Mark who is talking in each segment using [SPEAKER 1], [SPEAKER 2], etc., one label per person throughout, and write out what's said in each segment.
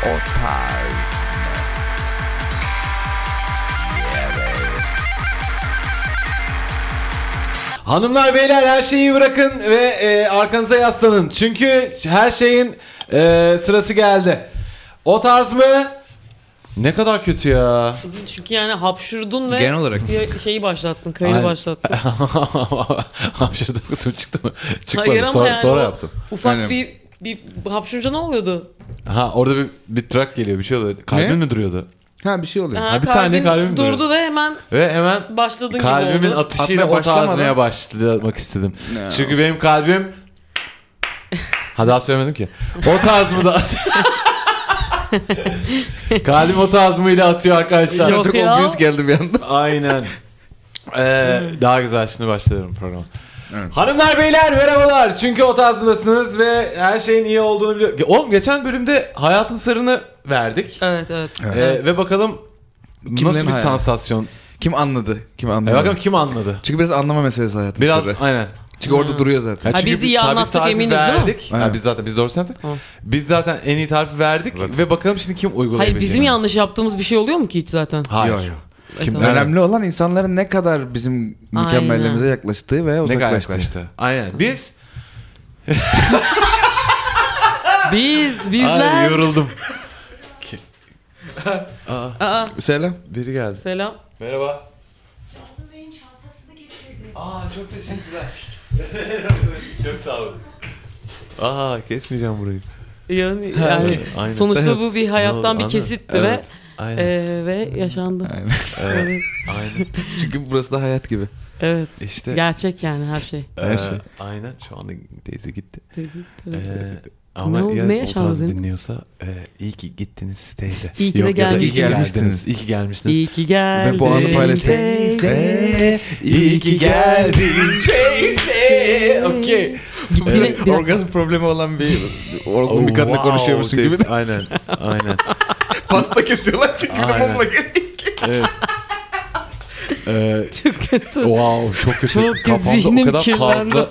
[SPEAKER 1] Otarz.
[SPEAKER 2] Hanımlar beyler her şeyi bırakın ve e, arkanıza yaslanın. Çünkü her şeyin e, sırası geldi. O tarz mı? Ne kadar kötü ya.
[SPEAKER 3] Çünkü yani hapşurdun ve
[SPEAKER 4] Genel olarak.
[SPEAKER 3] bir şeyi başlattın, kaydı
[SPEAKER 2] Aynen.
[SPEAKER 3] başlattın.
[SPEAKER 2] Hapşırdı kısım çıktı mı? Çıkmadı.
[SPEAKER 3] Hayır ama
[SPEAKER 2] sonra
[SPEAKER 3] yani
[SPEAKER 2] sonra
[SPEAKER 3] o
[SPEAKER 2] yaptım.
[SPEAKER 3] Ufak
[SPEAKER 4] Aynen.
[SPEAKER 3] bir bir hapşurunca ne oluyordu?
[SPEAKER 2] Ha orada bir, bir trak geliyor bir şey oluyor. Kalbin
[SPEAKER 4] Ne?
[SPEAKER 2] mi duruyordu?
[SPEAKER 4] Ha bir şey oluyor.
[SPEAKER 2] Ha, bir saniye kalbim
[SPEAKER 3] durdu
[SPEAKER 2] durdu.
[SPEAKER 3] ve hemen
[SPEAKER 2] Ve hemen
[SPEAKER 3] başladın gibi
[SPEAKER 2] kalbimin
[SPEAKER 3] oldu.
[SPEAKER 2] atışıyla
[SPEAKER 4] Atmaya
[SPEAKER 2] o
[SPEAKER 4] başlamadan-
[SPEAKER 2] tarzmaya başlamak istedim.
[SPEAKER 4] No.
[SPEAKER 2] Çünkü benim kalbim... ha daha söylemedim ki. O tarz mı da Kalbim o tarz mıyla atıyor arkadaşlar.
[SPEAKER 3] Yok
[SPEAKER 4] Çok
[SPEAKER 3] ya.
[SPEAKER 4] obvious geldi bir anda.
[SPEAKER 2] Aynen. Ee, daha güzel şimdi başlıyorum programı.
[SPEAKER 4] Evet.
[SPEAKER 2] Hanımlar beyler merhabalar. Çünkü o tazmındasınız ve her şeyin iyi olduğunu biliyor. Oğlum geçen bölümde hayatın sırrını verdik.
[SPEAKER 3] Evet evet.
[SPEAKER 2] Ee, ve bakalım
[SPEAKER 4] Kimlerin
[SPEAKER 2] nasıl bir
[SPEAKER 4] hayatı?
[SPEAKER 2] sansasyon.
[SPEAKER 4] Kim anladı? Kim
[SPEAKER 2] E
[SPEAKER 4] anladı?
[SPEAKER 2] bakalım kim anladı?
[SPEAKER 4] Çünkü biraz anlama meselesi hayatın
[SPEAKER 2] Biraz
[SPEAKER 4] sırrı.
[SPEAKER 2] aynen.
[SPEAKER 4] Çünkü orada duruyor zaten.
[SPEAKER 3] Ha,
[SPEAKER 2] çünkü
[SPEAKER 3] biz iyi
[SPEAKER 2] bir- tabii
[SPEAKER 3] anlattık,
[SPEAKER 2] tarifi
[SPEAKER 3] eminiz değil mi?
[SPEAKER 2] verdik. Ha,
[SPEAKER 4] Aynen.
[SPEAKER 2] biz zaten biz doğrusu yaptık.
[SPEAKER 3] Hı.
[SPEAKER 2] Biz zaten en iyi tarifi verdik ve bakalım şimdi kim uygulayabilecek.
[SPEAKER 3] Hayır bizim yanlış yaptığımız bir şey oluyor mu ki hiç zaten?
[SPEAKER 2] Hayır.
[SPEAKER 4] Yok, yok.
[SPEAKER 2] Kim
[SPEAKER 3] Evet,
[SPEAKER 2] önemli
[SPEAKER 4] Önemli olan insanların ne kadar bizim mükemmelliğimize yaklaştığı ve
[SPEAKER 2] ne kadar
[SPEAKER 4] uzaklaştığı.
[SPEAKER 2] yaklaştı? Aynen. Biz
[SPEAKER 3] Biz
[SPEAKER 2] Ay,
[SPEAKER 3] bizler.
[SPEAKER 2] yoruldum.
[SPEAKER 3] Aa,
[SPEAKER 4] Selam.
[SPEAKER 2] Biri geldi.
[SPEAKER 3] selam.
[SPEAKER 2] Merhaba.
[SPEAKER 5] Aslı Bey'in çantasını getirdi.
[SPEAKER 2] Aa çok teşekkürler. çok sağ olun. Aa kesmeyeceğim burayı.
[SPEAKER 3] Yani, yani
[SPEAKER 2] Aynen.
[SPEAKER 3] sonuçta bu bir hayattan bir
[SPEAKER 2] Anladım.
[SPEAKER 3] kesitti
[SPEAKER 2] Evet.
[SPEAKER 3] ve
[SPEAKER 2] Aynen.
[SPEAKER 3] e, ve yaşandı.
[SPEAKER 2] Evet. aynen.
[SPEAKER 4] Çünkü burası da hayat gibi.
[SPEAKER 3] Evet.
[SPEAKER 2] İşte
[SPEAKER 3] Gerçek yani her şey.
[SPEAKER 4] her
[SPEAKER 2] e,
[SPEAKER 4] şey.
[SPEAKER 2] Aynen şu anda teyze gitti.
[SPEAKER 3] Dedi,
[SPEAKER 2] E,
[SPEAKER 3] dedi.
[SPEAKER 2] ama
[SPEAKER 3] oldu,
[SPEAKER 2] ya
[SPEAKER 3] ne
[SPEAKER 2] ne o tarz
[SPEAKER 3] yaşandınız?
[SPEAKER 2] dinliyorsa e, iyi ki gittiniz teyze.
[SPEAKER 3] İyi ki de
[SPEAKER 2] Yok ya da iyi ki
[SPEAKER 4] gelmiştiniz.
[SPEAKER 2] gelmiştiniz. İyi ki gelmiştiniz.
[SPEAKER 3] İyi ki geldin.
[SPEAKER 4] Ve bu anı paylaştık.
[SPEAKER 3] teyze.
[SPEAKER 2] iyi ki geldin teyze. Okey.
[SPEAKER 3] Yine- bir-
[SPEAKER 4] Orgazm problemi olan bir
[SPEAKER 2] Oh,
[SPEAKER 4] orgazm bir kadınla
[SPEAKER 2] wow,
[SPEAKER 4] konuşuyormuşsun
[SPEAKER 2] teyze.
[SPEAKER 4] gibi de
[SPEAKER 2] Aynen. Aynen.
[SPEAKER 4] pasta kesiyorlar çünkü
[SPEAKER 2] Aynen.
[SPEAKER 4] mumla geliyor.
[SPEAKER 2] Evet. Ee,
[SPEAKER 3] Çok kötü.
[SPEAKER 2] wow çok kötü.
[SPEAKER 3] Çok
[SPEAKER 2] Kafamda o
[SPEAKER 3] zihnim
[SPEAKER 2] kadar
[SPEAKER 3] kirlendi.
[SPEAKER 2] fazla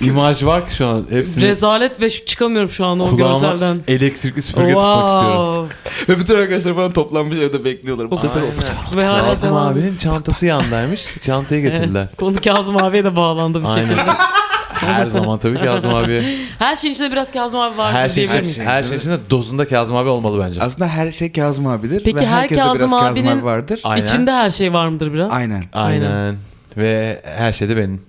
[SPEAKER 2] imaj var ki şu an hepsini
[SPEAKER 3] Rezalet ve şu- çıkamıyorum şu an o
[SPEAKER 2] kulağıma
[SPEAKER 3] görselden.
[SPEAKER 2] elektrikli süpürge tutmak istiyorum.
[SPEAKER 4] Ve bütün arkadaşlar falan toplanmış evde bekliyorlar. Bu sefer
[SPEAKER 2] Aynen.
[SPEAKER 3] Ve hala
[SPEAKER 2] Kazım
[SPEAKER 3] devam.
[SPEAKER 2] abinin çantası yandaymış. Çantayı getirdiler.
[SPEAKER 3] Konu Kazım abiye de bağlandı bir
[SPEAKER 2] Aynen.
[SPEAKER 3] şekilde.
[SPEAKER 2] Her zaman tabii Kazım abi.
[SPEAKER 3] Her şeyin içinde biraz Kazım abi var.
[SPEAKER 2] Her şey
[SPEAKER 3] diyebilir
[SPEAKER 2] her,
[SPEAKER 3] miyim?
[SPEAKER 2] her şeyin içinde dozunda Kazım abi olmalı bence.
[SPEAKER 4] aslında her şey Kazım abidir.
[SPEAKER 3] Peki her
[SPEAKER 4] ve herkeste biraz
[SPEAKER 3] Kazım
[SPEAKER 4] Kazım abi
[SPEAKER 3] abinin-
[SPEAKER 4] vardır.
[SPEAKER 2] Aynen.
[SPEAKER 3] İçinde her şey var mıdır biraz?
[SPEAKER 4] Aynen.
[SPEAKER 2] Aynen. Ve her şey de benim.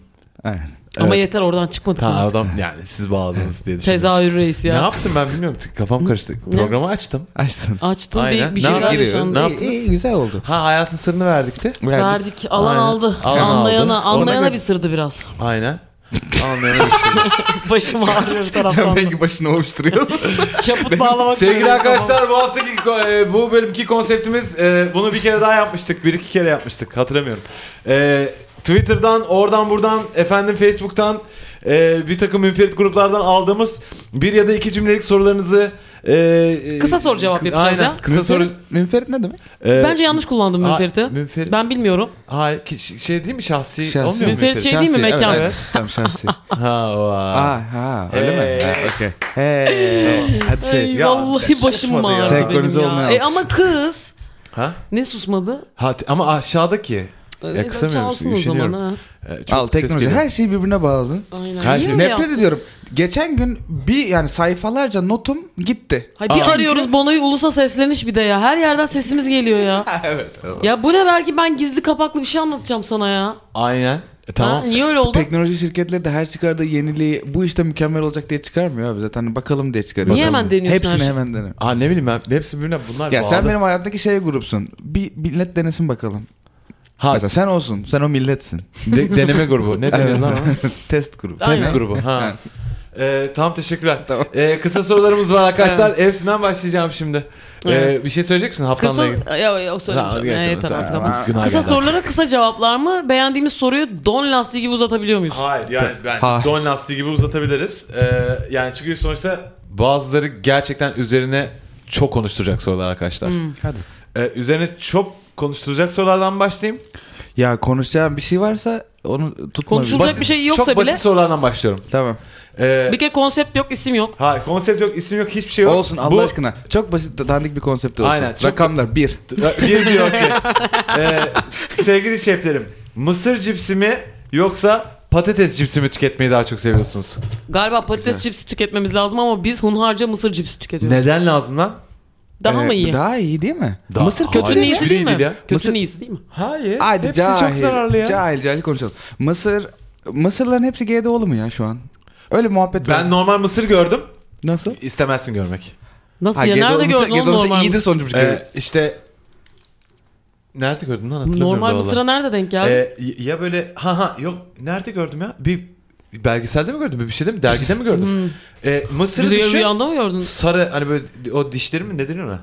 [SPEAKER 4] Aynen.
[SPEAKER 3] Ama
[SPEAKER 2] Evet.
[SPEAKER 3] yeter oradan çıkmadık.
[SPEAKER 2] Tamam
[SPEAKER 3] mı?
[SPEAKER 2] adam yani siz bağladınız diye düşünüyorum.
[SPEAKER 3] Tezahür reis
[SPEAKER 2] Ne
[SPEAKER 3] ya.
[SPEAKER 2] yaptım ben bilmiyorum. Kafam karıştı. Programı açtım.
[SPEAKER 4] Açsın.
[SPEAKER 3] Açtın
[SPEAKER 2] Aynen.
[SPEAKER 3] bir, bir
[SPEAKER 2] Ne
[SPEAKER 3] şeyler
[SPEAKER 2] yapıyoruz?
[SPEAKER 3] yaşandı.
[SPEAKER 2] Ne yaptınız?
[SPEAKER 4] İyi, iyi, güzel oldu.
[SPEAKER 2] Ha hayatın sırrını verdik de.
[SPEAKER 3] Verdik. Alan
[SPEAKER 2] Aynen.
[SPEAKER 3] aldı.
[SPEAKER 2] Alan aldı.
[SPEAKER 3] anlayana,
[SPEAKER 2] Ona
[SPEAKER 3] anlayana
[SPEAKER 2] göre-
[SPEAKER 3] bir sırdı biraz.
[SPEAKER 2] Aynen. şey. Anlayamadım.
[SPEAKER 3] Başım ağrıyor bir
[SPEAKER 4] Sen
[SPEAKER 3] taraftan. da.
[SPEAKER 4] belki başını ovuşturuyorsun.
[SPEAKER 3] Çaput bağlamak
[SPEAKER 2] Şey Sevgili
[SPEAKER 3] istiyorum.
[SPEAKER 2] arkadaşlar bu haftaki ko- e, bu bölümki konseptimiz e, bunu bir kere daha yapmıştık. Bir iki kere yapmıştık. Hatırlamıyorum. E, Twitter'dan, oradan buradan, efendim Facebook'tan e, bir takım münferit gruplardan aldığımız bir ya da iki cümlelik sorularınızı e, e,
[SPEAKER 3] Kısa soru cevap yapacağız
[SPEAKER 2] aynen,
[SPEAKER 3] ya.
[SPEAKER 2] Kısa soru.
[SPEAKER 4] Münferit ne demek?
[SPEAKER 2] e,
[SPEAKER 3] Bence yanlış kullandım
[SPEAKER 2] ha,
[SPEAKER 3] münferiti.
[SPEAKER 2] münferit-
[SPEAKER 3] Ben bilmiyorum.
[SPEAKER 2] Hayır, ki- ş- şey değil mi şahsi?
[SPEAKER 4] Şahsi.
[SPEAKER 2] Olmuyor mu
[SPEAKER 4] Münferit
[SPEAKER 2] münferit?
[SPEAKER 3] şey değil mi,
[SPEAKER 4] Şahsi,
[SPEAKER 3] mekan?
[SPEAKER 4] Evet, evet. Tamam şahsi.
[SPEAKER 2] Ha, vay.
[SPEAKER 4] Aa, ha, öyle mi?
[SPEAKER 2] Hey.
[SPEAKER 4] Ha, Okey. Hey. Hadi
[SPEAKER 3] Ay,
[SPEAKER 4] şey.
[SPEAKER 3] vallahi başım
[SPEAKER 2] susmadı ya.
[SPEAKER 3] ağrıyor
[SPEAKER 4] Senkronize
[SPEAKER 3] benim ya.
[SPEAKER 4] olmayan
[SPEAKER 3] E,
[SPEAKER 4] alkış.
[SPEAKER 3] ama kız.
[SPEAKER 2] Ha?
[SPEAKER 3] Ne susmadı?
[SPEAKER 2] Ha, t- ama aşağıdaki.
[SPEAKER 3] E,
[SPEAKER 2] kısamıyorum,
[SPEAKER 3] çalsın o zaman
[SPEAKER 2] üşeniyorum.
[SPEAKER 3] ha.
[SPEAKER 2] E, çok
[SPEAKER 4] Al
[SPEAKER 2] ses
[SPEAKER 4] teknoloji.
[SPEAKER 2] geliyor.
[SPEAKER 4] Her şeyi birbirine bağladın.
[SPEAKER 3] Aynen.
[SPEAKER 2] Her
[SPEAKER 3] İyi
[SPEAKER 2] şey-
[SPEAKER 3] mi
[SPEAKER 4] Nefret
[SPEAKER 3] yaptın?
[SPEAKER 4] ediyorum. Geçen gün bir yani sayfalarca notum gitti.
[SPEAKER 3] Hayır, bir
[SPEAKER 2] Aa.
[SPEAKER 3] arıyoruz Bono'yu ulusa sesleniş bir de ya. Her yerden sesimiz geliyor ya.
[SPEAKER 4] evet.
[SPEAKER 3] ya bu ne belki ben gizli kapaklı bir şey anlatacağım sana ya.
[SPEAKER 2] Aynen. E, tamam.
[SPEAKER 3] Ha, niye öyle oldu?
[SPEAKER 4] Teknoloji şirketleri de her çıkardığı yeniliği bu işte mükemmel olacak diye çıkarmıyor abi zaten bakalım diye çıkarıyor.
[SPEAKER 3] Niye
[SPEAKER 4] Bakalım
[SPEAKER 3] hemen
[SPEAKER 4] diye.
[SPEAKER 3] deniyorsun
[SPEAKER 4] Hepsini
[SPEAKER 3] her
[SPEAKER 4] hemen dene.
[SPEAKER 2] Ha ne bileyim ben hepsi birbirine bunlar
[SPEAKER 4] Ya
[SPEAKER 2] bağlı.
[SPEAKER 4] sen benim hayatımdaki şey grupsun. Bir millet denesin bakalım.
[SPEAKER 2] Ha,
[SPEAKER 4] Mesela sen olsun. Sen o milletsin.
[SPEAKER 2] de- deneme grubu. Ne deniyor lan? ona?
[SPEAKER 4] Test grubu.
[SPEAKER 3] Aynen.
[SPEAKER 2] Test grubu. Ha. Ee, tamam teşekkürler.
[SPEAKER 4] Tamam.
[SPEAKER 2] Ee, kısa sorularımız var arkadaşlar. Hepsinden başlayacağım şimdi. Ee,
[SPEAKER 3] Evet.
[SPEAKER 2] Bir şey söyleyecek misin haftanla
[SPEAKER 3] Kısa...
[SPEAKER 2] ilgili?
[SPEAKER 3] Ya, ya, o
[SPEAKER 2] Ha,
[SPEAKER 3] söyleyeceğim.
[SPEAKER 2] gel
[SPEAKER 3] Ya,
[SPEAKER 2] sen-
[SPEAKER 3] yeter
[SPEAKER 2] sen-
[SPEAKER 3] artık.
[SPEAKER 2] Aa,
[SPEAKER 3] ama.
[SPEAKER 2] günah
[SPEAKER 3] Kısa
[SPEAKER 2] geldi.
[SPEAKER 3] sorulara kısa cevaplar mı? Beğendiğimiz soruyu don lastiği gibi uzatabiliyor muyuz?
[SPEAKER 2] Hayır yani ben
[SPEAKER 4] Ha.
[SPEAKER 2] don lastiği gibi uzatabiliriz. Ee, yani çünkü sonuçta bazıları gerçekten üzerine çok konuşturacak sorular arkadaşlar.
[SPEAKER 3] Hmm.
[SPEAKER 4] Hadi.
[SPEAKER 2] E, Ee, üzerine çok konuşturacak sorulardan başlayayım.
[SPEAKER 4] Ya konuşacağım bir şey varsa onu tutma.
[SPEAKER 3] Konuşulacak
[SPEAKER 2] Basit-
[SPEAKER 3] bir şey yoksa
[SPEAKER 2] Çok
[SPEAKER 3] bile.
[SPEAKER 2] basit sorulardan başlıyorum.
[SPEAKER 4] Tamam.
[SPEAKER 2] Ee,
[SPEAKER 3] Bir kere konsept yok, isim yok.
[SPEAKER 2] hayır konsept yok, isim yok, hiçbir şey yok.
[SPEAKER 4] Olsun Allah
[SPEAKER 2] Bu-
[SPEAKER 4] aşkına. Çok basit dandik bir konsept olsun.
[SPEAKER 2] Aynen, çok-
[SPEAKER 4] Rakamlar bir.
[SPEAKER 2] Bir bir okey. Ee, sevgili şeflerim, mısır cipsi mi yoksa patates cipsi mi tüketmeyi daha çok seviyorsunuz?
[SPEAKER 3] Galiba patates cipsi tüketmemiz lazım ama biz hunharca mısır cipsi tüketiyoruz.
[SPEAKER 2] Neden lazım lan?
[SPEAKER 3] Daha mı
[SPEAKER 2] e,
[SPEAKER 4] Ee,
[SPEAKER 3] iyi?
[SPEAKER 4] Daha iyi değil mi?
[SPEAKER 2] Daha-
[SPEAKER 4] Mısır
[SPEAKER 2] Kötü
[SPEAKER 4] kötü
[SPEAKER 3] Kötünün
[SPEAKER 4] değil
[SPEAKER 2] niyet-
[SPEAKER 4] mi?
[SPEAKER 3] iyisi değil mi?
[SPEAKER 2] Hiçbiri değil ya.
[SPEAKER 3] Kötünün
[SPEAKER 4] Mısır-
[SPEAKER 3] iyisi değil mi?
[SPEAKER 2] Hayır.
[SPEAKER 4] Hadi
[SPEAKER 2] hepsi
[SPEAKER 4] cahil.
[SPEAKER 2] çok zararlı ya.
[SPEAKER 4] Cahil cahil konuşalım. Mısır, Mısırların hepsi GDO'lu mu ya şu an? Öyle muhabbet var.
[SPEAKER 2] Ben normal mısır gördüm.
[SPEAKER 4] Nasıl?
[SPEAKER 2] İstemezsin görmek.
[SPEAKER 3] Nasıl
[SPEAKER 4] Ha,
[SPEAKER 3] ya?
[SPEAKER 4] GDO'lu
[SPEAKER 3] Nerede gördün
[SPEAKER 4] mısır,
[SPEAKER 3] oğlum
[SPEAKER 4] GDO'lusu
[SPEAKER 3] normal
[SPEAKER 4] iyiydi
[SPEAKER 3] mısır?
[SPEAKER 4] sonucu.
[SPEAKER 2] Ee, işte nerede gördün lan hatırlamıyorum.
[SPEAKER 3] Normal
[SPEAKER 2] vallahi.
[SPEAKER 3] mısıra nerede denk geldi?
[SPEAKER 2] Ee, y- ya böyle ha ha yok nerede gördüm ya? Bir, bir belgeselde mi gördüm? Bir şeyde mi? Dergide mi
[SPEAKER 3] Hmm.
[SPEAKER 2] gördüm? ee, mısırı
[SPEAKER 3] Rüya-
[SPEAKER 2] düşün.
[SPEAKER 3] rüyanda mı gördün?
[SPEAKER 2] Sarı hani böyle o dişleri mi ne deniyor ona?